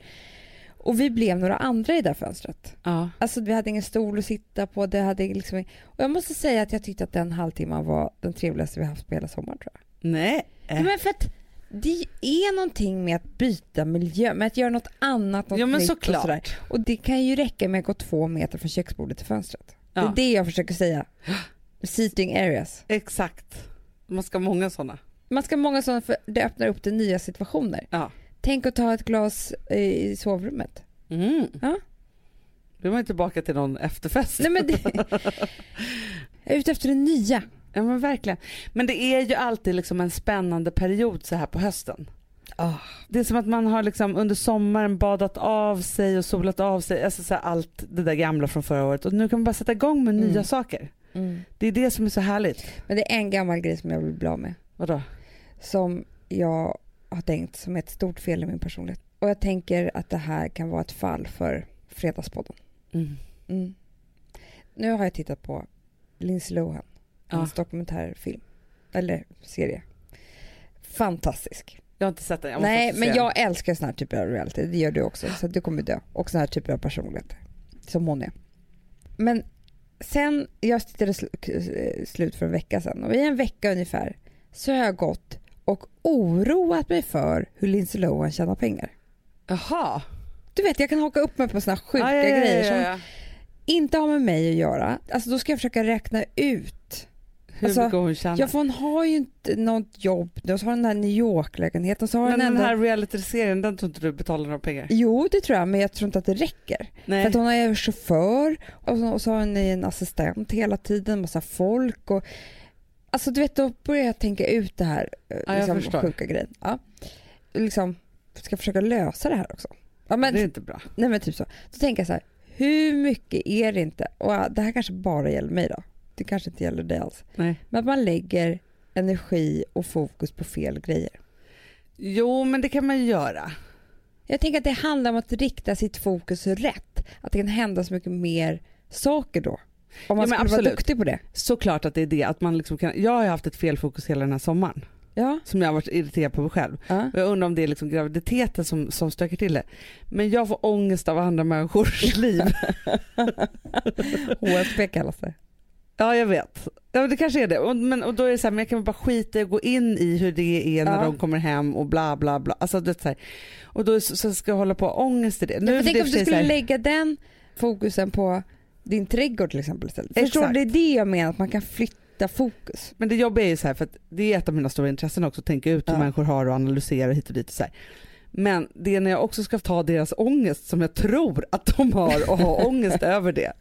[SPEAKER 2] Och vi blev några andra i det där fönstret.
[SPEAKER 1] Ja.
[SPEAKER 2] Alltså vi hade ingen stol att sitta på. Det hade liksom... Och jag måste säga att jag tyckte att den halvtimman var den trevligaste vi haft på hela sommaren tror jag.
[SPEAKER 1] Nej.
[SPEAKER 2] Ja, Men för att det är någonting med att byta miljö, med att göra något annat, något
[SPEAKER 1] Ja men
[SPEAKER 2] nytt och sådär.
[SPEAKER 1] såklart.
[SPEAKER 2] Och det kan ju räcka med att gå två meter från köksbordet till fönstret. Det
[SPEAKER 1] Ja.
[SPEAKER 2] är det jag försöker säga. [gasps] Seating areas.
[SPEAKER 1] Exakt. Man ska ha många sådana.
[SPEAKER 2] Man ska ha många sådana för det öppnar upp till nya situationer.
[SPEAKER 1] Ja.
[SPEAKER 2] Tänk att ta ett glas eh, i sovrummet.
[SPEAKER 1] Mm.
[SPEAKER 2] Ja.
[SPEAKER 1] Då är man ju tillbaka till någon efterfest. [laughs]
[SPEAKER 2] Nej, men det... Jag är ute efter det nya.
[SPEAKER 1] Ja men verkligen. Men det är ju alltid liksom en spännande period så här på hösten.
[SPEAKER 2] Ah.
[SPEAKER 1] Det är som att man har liksom under sommaren badat av sig och solat av sig. Alltså så här allt det där gamla från förra året. Och nu kan man bara sätta igång med
[SPEAKER 2] Mm.
[SPEAKER 1] nya saker. Det är det som är så härligt.
[SPEAKER 2] Men det är en gammal grej som jag vill bli av med.
[SPEAKER 1] Vadå?
[SPEAKER 2] Som jag har tänkt som är ett stort fel i min personlighet. Och jag tänker att det här kan vara ett fall för Fredagspodden.
[SPEAKER 1] Mm.
[SPEAKER 2] Mm. Nu har jag tittat på Lindsay Lohan.
[SPEAKER 1] Ja.
[SPEAKER 2] Hans dokumentärfilm. Eller serie. Fantastisk.
[SPEAKER 1] Jag har inte sett den. Jag måste
[SPEAKER 2] Nej,
[SPEAKER 1] också se
[SPEAKER 2] men
[SPEAKER 1] den.
[SPEAKER 2] jag älskar såna här typer av reality. Det gör du också. Så att du kommer dö. Och såna här typer av personligheter. Som hon är. Men sen, jag tittade sl- k- eh, slut för en vecka sedan. Och i en vecka ungefär så har jag gått och oroat mig för hur Lindsay Lohan tjänar pengar.
[SPEAKER 1] Jaha.
[SPEAKER 2] Du vet, jag kan haka upp mig på såna här sjuka
[SPEAKER 1] Ja, ja, ja,
[SPEAKER 2] grejer
[SPEAKER 1] ja,
[SPEAKER 2] som
[SPEAKER 1] ja.
[SPEAKER 2] inte har med mig att göra. Alltså då ska jag försöka räkna ut
[SPEAKER 1] Hur
[SPEAKER 2] Alltså,
[SPEAKER 1] mycket hon tjänar.
[SPEAKER 2] Ja för hon har ju inte något jobb nu och så har hon den här New York-lägenheten och så har
[SPEAKER 1] men
[SPEAKER 2] hon
[SPEAKER 1] den
[SPEAKER 2] ändå...
[SPEAKER 1] här realityserien den tror inte du betalar några pengar?
[SPEAKER 2] Jo det tror jag men jag tror inte att det räcker. För
[SPEAKER 1] Nej.
[SPEAKER 2] att hon är chaufför och så, och så har hon en assistent hela tiden, massa folk och... Alltså du vet då börjar jag tänka ut det här eh,
[SPEAKER 1] jag förstår.
[SPEAKER 2] liksom, sjuka grejen. Ja. Liksom, ska försöka lösa det här också. Ja, men,
[SPEAKER 1] Det är inte bra.
[SPEAKER 2] Nej men typ så. Då tänker jag så här, hur mycket är det inte? Och ah, det här kanske bara gäller mig då. Det kanske inte gäller dig alls.
[SPEAKER 1] Nej.
[SPEAKER 2] Men att man lägger energi och fokus på fel grejer.
[SPEAKER 1] Jo men det kan man ju göra.
[SPEAKER 2] Jag tänker att det handlar om att rikta sitt fokus rätt. Att det kan hända så mycket mer saker då.
[SPEAKER 1] Ja,
[SPEAKER 2] Om man
[SPEAKER 1] men
[SPEAKER 2] skulle vara
[SPEAKER 1] absolut.
[SPEAKER 2] duktig på det.
[SPEAKER 1] Såklart att det är det. Att man liksom kan... Jag har ju haft ett felfokus hela den här sommaren.
[SPEAKER 2] Ja.
[SPEAKER 1] Som jag har varit irriterad på mig själv. [laughs]
[SPEAKER 2] ja.
[SPEAKER 1] Och jag undrar om det är liksom graviditeten som, som stökar till det. Men jag får ångest av andra människors [laughs] liv.
[SPEAKER 2] HSB kallas det.
[SPEAKER 1] Ja jag vet. Ja, men det kanske är det. Och, men, och då är det så här, men jag kan väl bara skita i och gå in i hur det är när
[SPEAKER 2] Ja.
[SPEAKER 1] de kommer hem och bla bla bla. Alltså, det är så här. Och då så, så ska jag hålla på och ha ångest i det.
[SPEAKER 2] Ja,
[SPEAKER 1] är
[SPEAKER 2] för
[SPEAKER 1] det
[SPEAKER 2] tänk
[SPEAKER 1] i och för
[SPEAKER 2] om du
[SPEAKER 1] sig så
[SPEAKER 2] skulle
[SPEAKER 1] här-
[SPEAKER 2] lägga den fokusen på din trädgård till exempel istället.
[SPEAKER 1] Exakt.
[SPEAKER 2] Förstår du? Det är det jag menar, att man kan flytta fokus.
[SPEAKER 1] Men det jobbiga är ju så här, för att det är ett av mina stora intressen också, att tänka ut hur
[SPEAKER 2] Ja.
[SPEAKER 1] människor har och analysera hit och dit. Och så här. Men det är när jag också ska ta deras ångest som jag tror att de har och
[SPEAKER 2] [laughs]
[SPEAKER 1] ha ångest över det.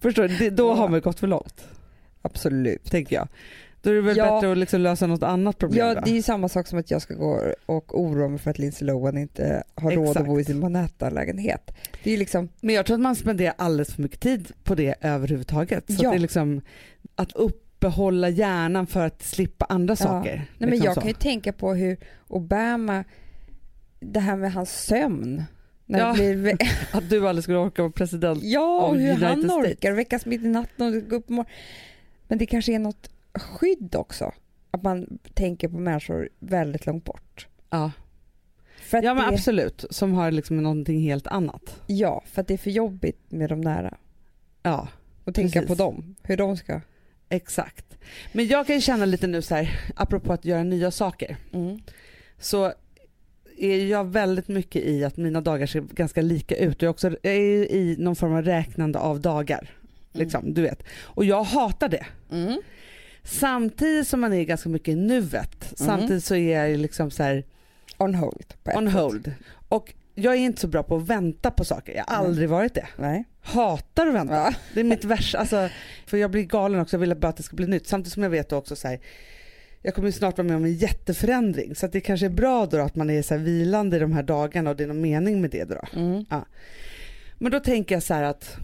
[SPEAKER 1] Förstår du? Det, då har man ju gått för långt,
[SPEAKER 2] Absolut.
[SPEAKER 1] tänker jag. Då är det väl
[SPEAKER 2] Ja.
[SPEAKER 1] bättre att liksom lösa något annat problem
[SPEAKER 2] Ja,
[SPEAKER 1] då?
[SPEAKER 2] det är ju samma sak som att jag ska gå och oroa mig för att Lindsay Lohan inte har råd att
[SPEAKER 1] Exakt.
[SPEAKER 2] bo i sin Manhattan-lägenhet. Det är ju liksom,
[SPEAKER 1] Men jag tror att man spenderar alldeles för mycket tid på det överhuvudtaget. Så
[SPEAKER 2] Ja.
[SPEAKER 1] att det är liksom att uppehålla hjärnan för att slippa andra saker.
[SPEAKER 2] nej men
[SPEAKER 1] liksom
[SPEAKER 2] jag
[SPEAKER 1] så.
[SPEAKER 2] kan ju tänka på hur Obama, det här med hans sömn, när
[SPEAKER 1] Ja.
[SPEAKER 2] det blir,
[SPEAKER 1] [laughs] Att du aldrig skulle orka vara president.
[SPEAKER 2] ja och
[SPEAKER 1] Om
[SPEAKER 2] hur
[SPEAKER 1] United
[SPEAKER 2] han
[SPEAKER 1] States.
[SPEAKER 2] orkar väckas mitt i natten och gå upp på morgonen. Men det kanske är något skydd också, att man tänker på människor väldigt långt bort.
[SPEAKER 1] Ja,
[SPEAKER 2] För att,
[SPEAKER 1] ja men
[SPEAKER 2] det,
[SPEAKER 1] absolut. Som har liksom någonting helt annat.
[SPEAKER 2] ja, för att det är för jobbigt med de nära.
[SPEAKER 1] Ja.
[SPEAKER 2] Och tänka
[SPEAKER 1] Precis.
[SPEAKER 2] på dem, hur de ska...
[SPEAKER 1] Exakt. Men jag kan ju känna lite nu så här, apropå att göra nya saker, så är ju jag väldigt mycket i att mina dagar ser ganska lika ut. Jag är, också, jag är ju i någon form av räknande av dagar. Liksom, du vet. Och jag hatar det.
[SPEAKER 2] Mm.
[SPEAKER 1] Samtidigt som man är ganska mycket i nuet, samtidigt så är jag ju liksom så här
[SPEAKER 2] On hold. På ett
[SPEAKER 1] on
[SPEAKER 2] sätt.
[SPEAKER 1] hold. Och jag är inte så bra på att vänta på saker. Jag har
[SPEAKER 2] Mm.
[SPEAKER 1] aldrig varit det.
[SPEAKER 2] Nej.
[SPEAKER 1] Hatar att vänta.
[SPEAKER 2] Ja.
[SPEAKER 1] Det är mitt värsta. Alltså, för jag blir galen också. Jag vill bara att det ska bli nytt. Samtidigt som jag vet då också så här, jag kommer ju snart vara med om en jätteförändring. Så att det kanske är bra då att man är så här vilande i de här dagarna och det är någon mening med det då.
[SPEAKER 2] Mm.
[SPEAKER 1] Men då tänker jag så här att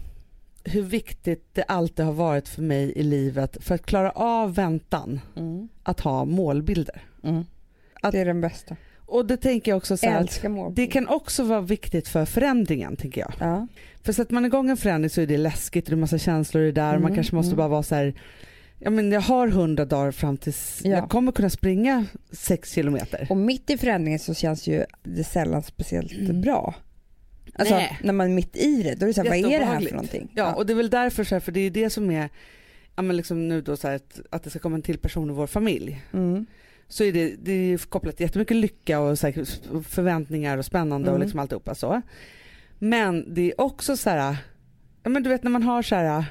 [SPEAKER 1] hur viktigt det alltid har varit för mig i livet för att klara av väntan
[SPEAKER 2] Mm.
[SPEAKER 1] att ha målbilder. Att-
[SPEAKER 2] Det är den bästa.
[SPEAKER 1] Och det tänker jag också så här att
[SPEAKER 2] Älskar målbild.
[SPEAKER 1] det kan också vara viktigt för förändringen tänker jag.
[SPEAKER 2] Ja.
[SPEAKER 1] För sätter man igång en förändring så är det läskigt och det är massa känslor i det där.
[SPEAKER 2] Mm,
[SPEAKER 1] man kanske måste
[SPEAKER 2] mm.
[SPEAKER 1] bara vara så här, ja men jag har hundra dagar fram tills
[SPEAKER 2] Ja.
[SPEAKER 1] jag kommer kunna springa sex kilometer.
[SPEAKER 2] Och mitt i förändringen så känns ju det sällan speciellt bra. Alltså
[SPEAKER 1] Mm. Nej.
[SPEAKER 2] när man är mitt i det, då är det så här, vad är det här för
[SPEAKER 1] Jätteobehagligt.
[SPEAKER 2] någonting?
[SPEAKER 1] Ja och det är väl därför så här, för det är det som är, ja men liksom nu då så här att, att det ska komma en till person i vår familj.
[SPEAKER 2] Mm.
[SPEAKER 1] Så är det, det är ju kopplat till jättemycket lycka och så här, förväntningar och spännande och
[SPEAKER 2] Mm.
[SPEAKER 1] liksom alltihopa så. Men det är också så här, ja men du vet när man har så här,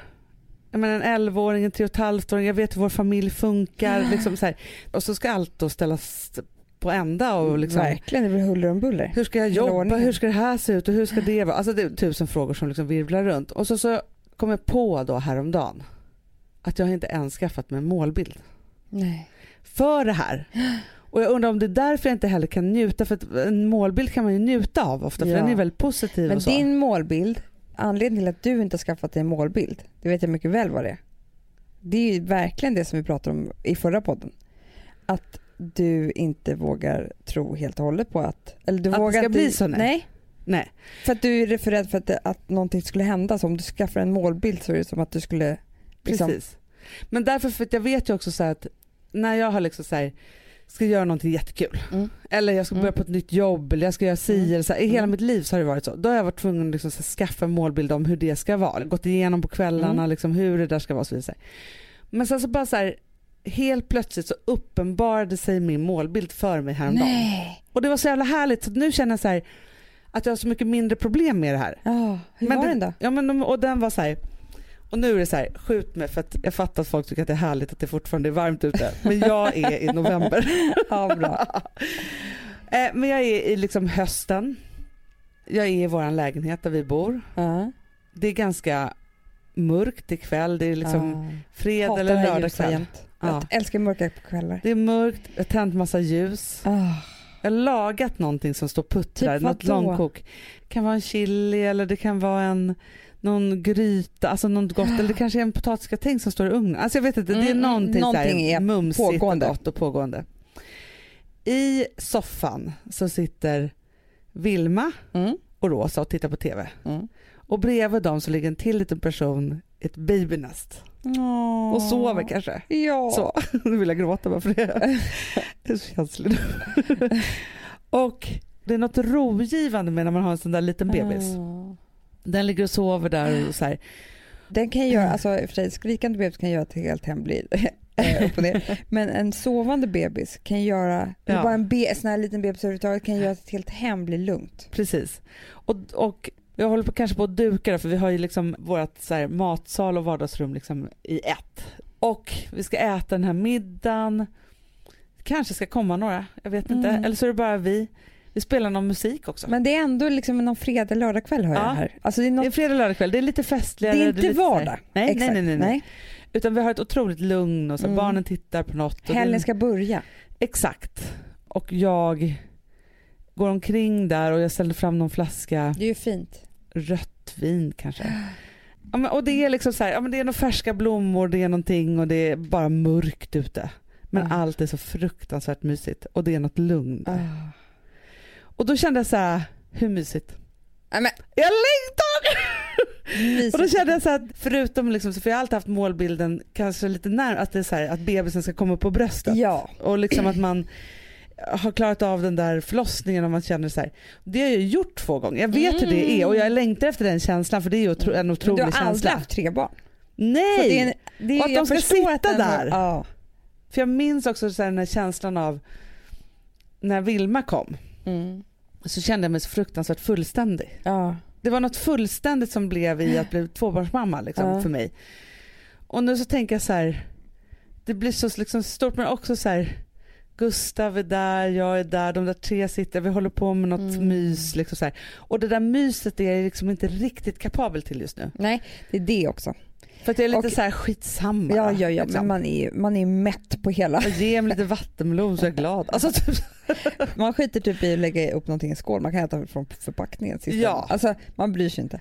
[SPEAKER 1] jag menar, en 11-åring, en 3,5-åring, jag vet hur vår familj funkar. Liksom så här. Och så ska allt då ställas på ända.
[SPEAKER 2] Mm,
[SPEAKER 1] Och liksom,
[SPEAKER 2] Verkligen, det blir huller om buller.
[SPEAKER 1] Hur ska jag
[SPEAKER 2] Hela
[SPEAKER 1] jobba?
[SPEAKER 2] ordningen.
[SPEAKER 1] Hur ska det här se ut? Och hur ska det vara? Alltså det är tusen frågor som liksom virvlar runt. Och så, så kom jag på då häromdagen att jag inte ens skaffat mig en målbild
[SPEAKER 2] Nej.
[SPEAKER 1] för det här. Och jag undrar om det är därför jag inte heller kan njuta. För att en målbild kan man ju njuta av ofta för
[SPEAKER 2] Ja.
[SPEAKER 1] den är väldigt positiv
[SPEAKER 2] Men
[SPEAKER 1] och så.
[SPEAKER 2] din målbild, anledningen till att du inte har skaffat dig en målbild, det vet jag mycket väl vad det är. Det är ju verkligen det som vi pratade om i förra podden. Att du inte vågar tro helt och hållet på att... Eller du
[SPEAKER 1] Att det
[SPEAKER 2] vågar
[SPEAKER 1] ska
[SPEAKER 2] inte,
[SPEAKER 1] bli så, nej. Nej.
[SPEAKER 2] För att du är för rädd för att, det- att någonting skulle hända. Så om du skaffar en målbild så är det som att du skulle... Liksom.
[SPEAKER 1] Precis. Men därför, för att jag vet ju också så här att när jag har liksom så här, ska göra någonting jättekul
[SPEAKER 2] Mm.
[SPEAKER 1] eller jag ska börja på ett nytt jobb eller jag ska göra si
[SPEAKER 2] Mm.
[SPEAKER 1] eller så här, i hela mitt liv så har det varit så. Då har jag varit tvungen att liksom så här, skaffa en målbild om hur det ska vara. Gått igenom på kvällarna
[SPEAKER 2] Mm.
[SPEAKER 1] liksom, hur det där ska vara och så vidare. Men sen så bara så här, helt plötsligt så uppenbarade sig min målbild för mig häromdagen.
[SPEAKER 2] Nej.
[SPEAKER 1] Och det var så jävla härligt så nu känner jag så här att jag har så mycket mindre problem med det här.
[SPEAKER 2] Ja, hur
[SPEAKER 1] Men
[SPEAKER 2] var
[SPEAKER 1] det-
[SPEAKER 2] den då?
[SPEAKER 1] Ja men de, och den var så här. Och nu är det så här, skjut mig för att jag fattar att folk tycker att det är härligt att det fortfarande är varmt ute. Men jag är i november.
[SPEAKER 2] [laughs] Ja, bra.
[SPEAKER 1] [laughs] Eh, men jag är i liksom hösten. Jag är i vår lägenhet där vi bor.
[SPEAKER 2] Ja.
[SPEAKER 1] Det är ganska mörkt ikväll. Det är liksom fred
[SPEAKER 2] Hatar det
[SPEAKER 1] eller
[SPEAKER 2] här
[SPEAKER 1] lördag
[SPEAKER 2] ljusa
[SPEAKER 1] kväll.
[SPEAKER 2] jämt.
[SPEAKER 1] Ja.
[SPEAKER 2] Jag älskar mörka kvällar.
[SPEAKER 1] Det är mörkt, jag har tänt massa ljus.
[SPEAKER 2] Ah,
[SPEAKER 1] Jag har lagat någonting som står och puttrar,
[SPEAKER 2] Typ
[SPEAKER 1] något
[SPEAKER 2] vadå?
[SPEAKER 1] långkok. Det kan vara en chili eller det kan vara en någon gryta, alltså något gott eller det kanske är en potatisgratäng som står i ugnen. Alltså jag vet inte, det är
[SPEAKER 2] Mm, mm,
[SPEAKER 1] någonting,
[SPEAKER 2] någonting
[SPEAKER 1] så här,
[SPEAKER 2] är
[SPEAKER 1] mumsigt
[SPEAKER 2] pågående.
[SPEAKER 1] och gott och pågående. I soffan så sitter Vilma
[SPEAKER 2] Mm.
[SPEAKER 1] och Rosa och tittar på TV.
[SPEAKER 2] Mm.
[SPEAKER 1] Och bredvid dem så ligger en till liten person i ett babynest och sover kanske.
[SPEAKER 2] Ja.
[SPEAKER 1] Så, [laughs] nu vill jag gråta bara för det. Det är så känsligt.
[SPEAKER 2] [laughs]
[SPEAKER 1] Och det är något rogivande med när man har en sån där liten bebis.
[SPEAKER 2] Ah.
[SPEAKER 1] Den ligger och sover där och så här.
[SPEAKER 2] Den kan ju göra, alltså i och för sig skrikande bebis kan göra att helt
[SPEAKER 1] [laughs]
[SPEAKER 2] hem blir eh, upp och ner. Men en sovande bebis kan göra, eller
[SPEAKER 1] Ja.
[SPEAKER 2] bara en, be, en sån här liten bebis överhuvudtaget kan göra att ett helt hem blir lugnt.
[SPEAKER 1] Precis. Och, och jag håller på kanske på att duka då, för vi har ju liksom vårt så här, matsal och vardagsrum liksom i ett. Och vi ska äta den här middagen. Kanske ska komma några, jag vet inte.
[SPEAKER 2] Mm.
[SPEAKER 1] Eller så är det bara vi. Vi spelar någon musik också.
[SPEAKER 2] Men det är ändå liksom någon fredag, lördagkväll hör jag
[SPEAKER 1] Ja.
[SPEAKER 2] här. Alltså det är, något,
[SPEAKER 1] det är fredag, lördag kväll. Det är lite
[SPEAKER 2] det
[SPEAKER 1] festligare.
[SPEAKER 2] är inte
[SPEAKER 1] lite så här-
[SPEAKER 2] vardag.
[SPEAKER 1] Nej, nej,
[SPEAKER 2] Exakt.
[SPEAKER 1] nej, nej, nej. Utan vi har ett otroligt lugn och så
[SPEAKER 2] Mm.
[SPEAKER 1] barnen tittar på något. Och det-
[SPEAKER 2] Helgen ska börja.
[SPEAKER 1] Exakt. Och jag går omkring där och jag ställer fram någon flaska
[SPEAKER 2] Det är ju fint.
[SPEAKER 1] rött vin
[SPEAKER 2] [gasps]
[SPEAKER 1] kanske. Ja, men, och det är liksom så här, ja, men det är några färska blommor, det är någonting och det är bara mörkt ute. Men
[SPEAKER 2] Mm.
[SPEAKER 1] allt är så fruktansvärt mysigt och det är något lugn.
[SPEAKER 2] Ah.
[SPEAKER 1] Och då kände jag så här, hur mysigt?
[SPEAKER 2] Nej, men-
[SPEAKER 1] Jag längtar!
[SPEAKER 2] Mysigt.
[SPEAKER 1] Och då kände jag så här, att förutom liksom, för jag har alltid haft målbilden kanske lite närmare, att det är så här, att bebisen ska komma upp på bröstet.
[SPEAKER 2] Ja.
[SPEAKER 1] Och liksom att man har klarat av den där förlossningen och man känner så här. Det har jag ju gjort två gånger. Jag vet hur det är och jag längtar efter den känslan för det är ju otro, en
[SPEAKER 2] Mm. Men
[SPEAKER 1] otrolig
[SPEAKER 2] du har aldrig
[SPEAKER 1] känsla.
[SPEAKER 2] haft tre barn. Så
[SPEAKER 1] Nej!
[SPEAKER 2] det är en, det är,
[SPEAKER 1] Och att
[SPEAKER 2] jag
[SPEAKER 1] de ska
[SPEAKER 2] förstår att
[SPEAKER 1] sitta
[SPEAKER 2] den-
[SPEAKER 1] där.
[SPEAKER 2] Ja.
[SPEAKER 1] För jag minns också så här den här känslan av när Vilma kom
[SPEAKER 2] Mm.
[SPEAKER 1] så kände jag mig så fruktansvärt fullständig.
[SPEAKER 2] Ja.
[SPEAKER 1] Det var något fullständigt som blev i att bli tvåbarnsmamma liksom,
[SPEAKER 2] Ja.
[SPEAKER 1] för mig. Och nu så tänker jag så här, det blir så liksom stort men också så här, Gustav är där, jag är där, de där tre sitter, vi håller på med något
[SPEAKER 2] Mm.
[SPEAKER 1] mys. Liksom så här. Och det där myset är jag liksom inte riktigt kapabel till just nu.
[SPEAKER 2] Nej, det är det också.
[SPEAKER 1] För att jag är lite
[SPEAKER 2] Och-
[SPEAKER 1] så här skitsamma.
[SPEAKER 2] Ja, ja, ja. Men
[SPEAKER 1] Liksom.
[SPEAKER 2] man är ju man är mätt
[SPEAKER 1] [laughs]
[SPEAKER 2] på hela.
[SPEAKER 1] Jag ger mig lite vattenmelon så är jag glad. Alltså, typ,
[SPEAKER 2] Man skiter typ i att lägga upp någonting i skål. Man kan äta från förpackningen. Sista.
[SPEAKER 1] Ja.
[SPEAKER 2] Alltså, man bryr sig inte.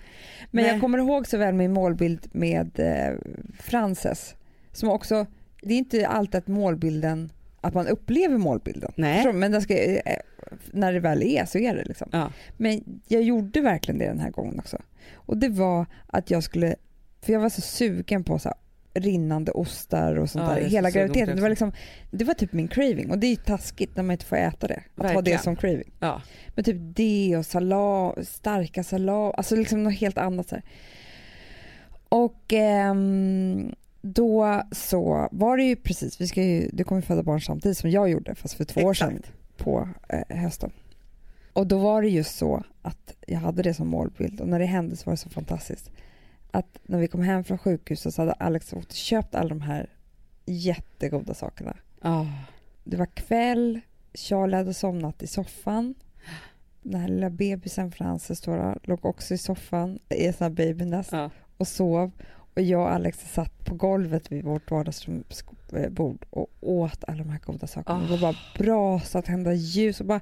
[SPEAKER 2] Men
[SPEAKER 1] Nej.
[SPEAKER 2] jag kommer ihåg så väl min målbild med eh, Frances. Som också, det är inte alltid att målbilden, att man upplever målbilden.
[SPEAKER 1] Nej.
[SPEAKER 2] Förstår du? Men den ska, eh, när det väl är så är det liksom.
[SPEAKER 1] ja.
[SPEAKER 2] Men jag gjorde verkligen det den här gången också. Och det var att jag skulle, för jag var så sugen på så här, rinnande ostar och sånt
[SPEAKER 1] Ja,
[SPEAKER 2] där
[SPEAKER 1] jag är
[SPEAKER 2] hela
[SPEAKER 1] så sugen på
[SPEAKER 2] graviditeten.
[SPEAKER 1] det
[SPEAKER 2] Det var,
[SPEAKER 1] också.
[SPEAKER 2] liksom, det var typ min craving och det är ju taskigt när man inte får äta det. Att ha
[SPEAKER 1] Verkligen.
[SPEAKER 2] det som craving.
[SPEAKER 1] Ja.
[SPEAKER 2] Men typ det och salam, starka salam, alltså liksom något helt annat. Så här. Och ehm, då så var det ju precis, vi ska ju, du kommer ju föda barn samtidigt som jag gjorde fast för två år sedan
[SPEAKER 1] Exakt.
[SPEAKER 2] på eh, hösten. Och då var det just så att jag hade det som målbild och när det hände så var det så fantastiskt. att när vi kom hem från sjukhuset så hade Alex åkt och köpt alla de här jättegoda sakerna.
[SPEAKER 1] Ah.
[SPEAKER 2] Det var kväll, Charlie hade somnat i soffan. Den här lilla bebisen Frances då, då, låg också i soffan i en sån här babynest
[SPEAKER 1] Ja.
[SPEAKER 2] och sov. Och jag och Alex satt på golvet vid vårt vardagsrumsbord och åt alla de här goda sakerna. Det var bara
[SPEAKER 1] Ah.
[SPEAKER 2] brasa, tända ljus och bara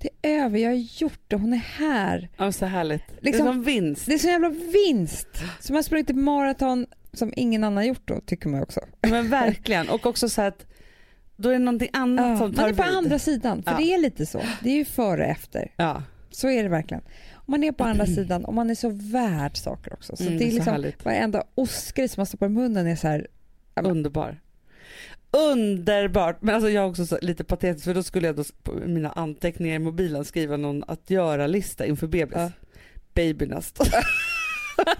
[SPEAKER 2] det är över, jag har gjort det, hon är här.
[SPEAKER 1] Ja, men så härligt.
[SPEAKER 2] Liksom-
[SPEAKER 1] det är som vinst.
[SPEAKER 2] Det är så jävla vinst! Som har sprungit ett maraton som ingen annan gjort då, tycker man ju också.
[SPEAKER 1] Men verkligen. Och också så att då är det någonting annat
[SPEAKER 2] Ja,
[SPEAKER 1] som
[SPEAKER 2] man
[SPEAKER 1] tar
[SPEAKER 2] är på
[SPEAKER 1] vid.
[SPEAKER 2] andra sidan, för
[SPEAKER 1] Ja.
[SPEAKER 2] det är lite så. Det är ju före och efter.
[SPEAKER 1] Ja,
[SPEAKER 2] Så är det verkligen. Och man är på
[SPEAKER 4] [clears throat]
[SPEAKER 2] andra sidan och man är så värd saker också. Så
[SPEAKER 1] mm,
[SPEAKER 2] det är
[SPEAKER 1] så
[SPEAKER 2] liksom
[SPEAKER 1] härligt.
[SPEAKER 2] varenda ostgrej som man stoppar i munnen är så här,
[SPEAKER 1] Underbar. Underbart! Men alltså jag är också så lite patetisk för då skulle jag då s- på mina anteckningar i mobilen skriva någon att göra-lista inför bebis.
[SPEAKER 2] Ja. [laughs]
[SPEAKER 1] Babynest.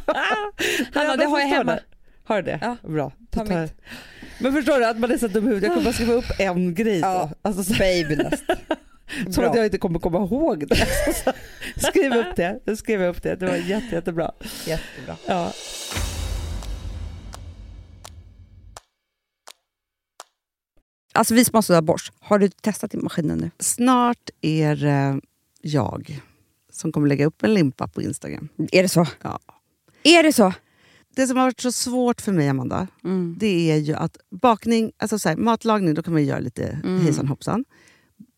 [SPEAKER 2] Hanna, det
[SPEAKER 1] förstår
[SPEAKER 2] har jag hemma.
[SPEAKER 1] det. Har du det?
[SPEAKER 2] Ja.
[SPEAKER 1] Bra.
[SPEAKER 2] Ta
[SPEAKER 1] Då tar jag-
[SPEAKER 2] mitt.
[SPEAKER 1] Men förstår du att man är så dum i huvudet. Jag kommer bara skriva upp en grej
[SPEAKER 2] Ja.
[SPEAKER 1] då. Alltså, så,
[SPEAKER 2] babynest.
[SPEAKER 1] [laughs] som
[SPEAKER 2] Bra.
[SPEAKER 1] att jag inte kommer komma ihåg
[SPEAKER 2] [laughs]
[SPEAKER 1] det. Alltså, så, skriv upp det. Jag skrev upp det. Det var jätte, jättebra.
[SPEAKER 2] Jättebra.
[SPEAKER 1] Ja.
[SPEAKER 4] Alltså vi som har sådär borst, har du testat i maskinen nu?
[SPEAKER 3] Snart är eh, jag som kommer lägga upp en limpa på Instagram.
[SPEAKER 4] Är det så?
[SPEAKER 3] Ja.
[SPEAKER 4] Är det så?
[SPEAKER 3] Det som har varit så svårt för mig, Amanda,
[SPEAKER 4] Mm.
[SPEAKER 3] det är ju att bakning, alltså så här, matlagning, då kan man ju göra lite
[SPEAKER 4] Mm.
[SPEAKER 3] hejsan hoppsan.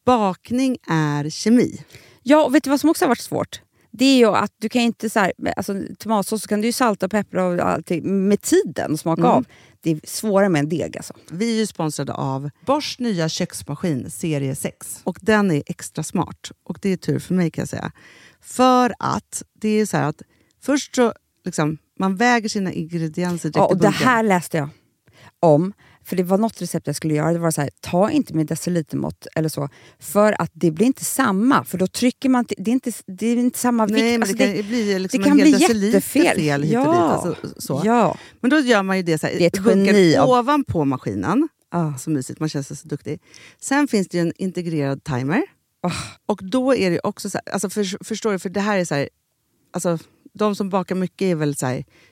[SPEAKER 3] Bakning är kemi.
[SPEAKER 4] Ja, och vet du vad som också har varit svårt? Det är ju att du kan ju inte så här, alltså, tomatsås så kan du ju salta och peppra och allt med tiden och
[SPEAKER 2] Mm.
[SPEAKER 4] smaka av. Det är svårare med en deg alltså.
[SPEAKER 3] Vi är ju sponsrade av Bors nya köksmaskin serie 6. Och den är extra smart. Och det är tur för mig kan jag säga. För att det är så här att först så liksom, man väger sina ingredienser direkt
[SPEAKER 4] Ja,
[SPEAKER 3] i
[SPEAKER 4] och det
[SPEAKER 3] bunken.
[SPEAKER 4] här läste jag om. För det var något recept jag skulle göra. Det var så här, ta inte med decilitermått eller så. För att det blir inte samma. För då trycker man... till- Det är inte, det är inte samma vikt.
[SPEAKER 3] Nej, men
[SPEAKER 4] Alltså,
[SPEAKER 3] det kan ju bli liksom
[SPEAKER 4] det kan
[SPEAKER 3] en hel
[SPEAKER 4] bli
[SPEAKER 3] deciliter
[SPEAKER 4] jättefel.
[SPEAKER 3] fel hit och
[SPEAKER 4] Ja.
[SPEAKER 3] dit. Alltså, så.
[SPEAKER 4] Ja.
[SPEAKER 3] Men då gör man ju det så här,
[SPEAKER 4] Det är ett
[SPEAKER 3] bunkern
[SPEAKER 4] geni av-
[SPEAKER 3] ovanpå maskinen.
[SPEAKER 4] Ah.
[SPEAKER 3] Så mysigt, man känns så duktig. Sen finns det ju en integrerad timer.
[SPEAKER 4] Ah.
[SPEAKER 3] Och då är det ju också så här, alltså för, förstår du, för det här är så här, alltså de som bakar mycket är väl så här,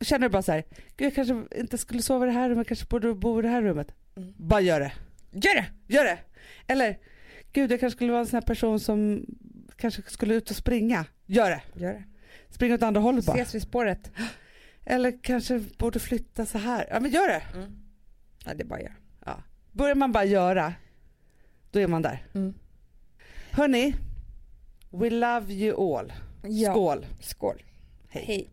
[SPEAKER 1] Känner du bara så här, Gud, jag kanske inte skulle sova i det här rummet, kanske borde bo i det här rummet.
[SPEAKER 6] Mm.
[SPEAKER 1] Bara gör det. Gör det! Gör det! Eller, Gud jag kanske skulle vara en sån här person som kanske skulle ut och springa. Gör det!
[SPEAKER 6] Gör det.
[SPEAKER 1] Springa åt andra hållet bara.
[SPEAKER 6] Ses vid spåret.
[SPEAKER 1] Eller kanske borde flytta så här. Ja men gör det!
[SPEAKER 6] Mm. Ja, det är bara att göra.
[SPEAKER 1] Börjar man bara göra, då är man där.
[SPEAKER 6] Mm.
[SPEAKER 1] Hörni, we love you all.
[SPEAKER 6] Ja.
[SPEAKER 1] Skål!
[SPEAKER 6] Skål.
[SPEAKER 1] Hej.
[SPEAKER 6] Hej.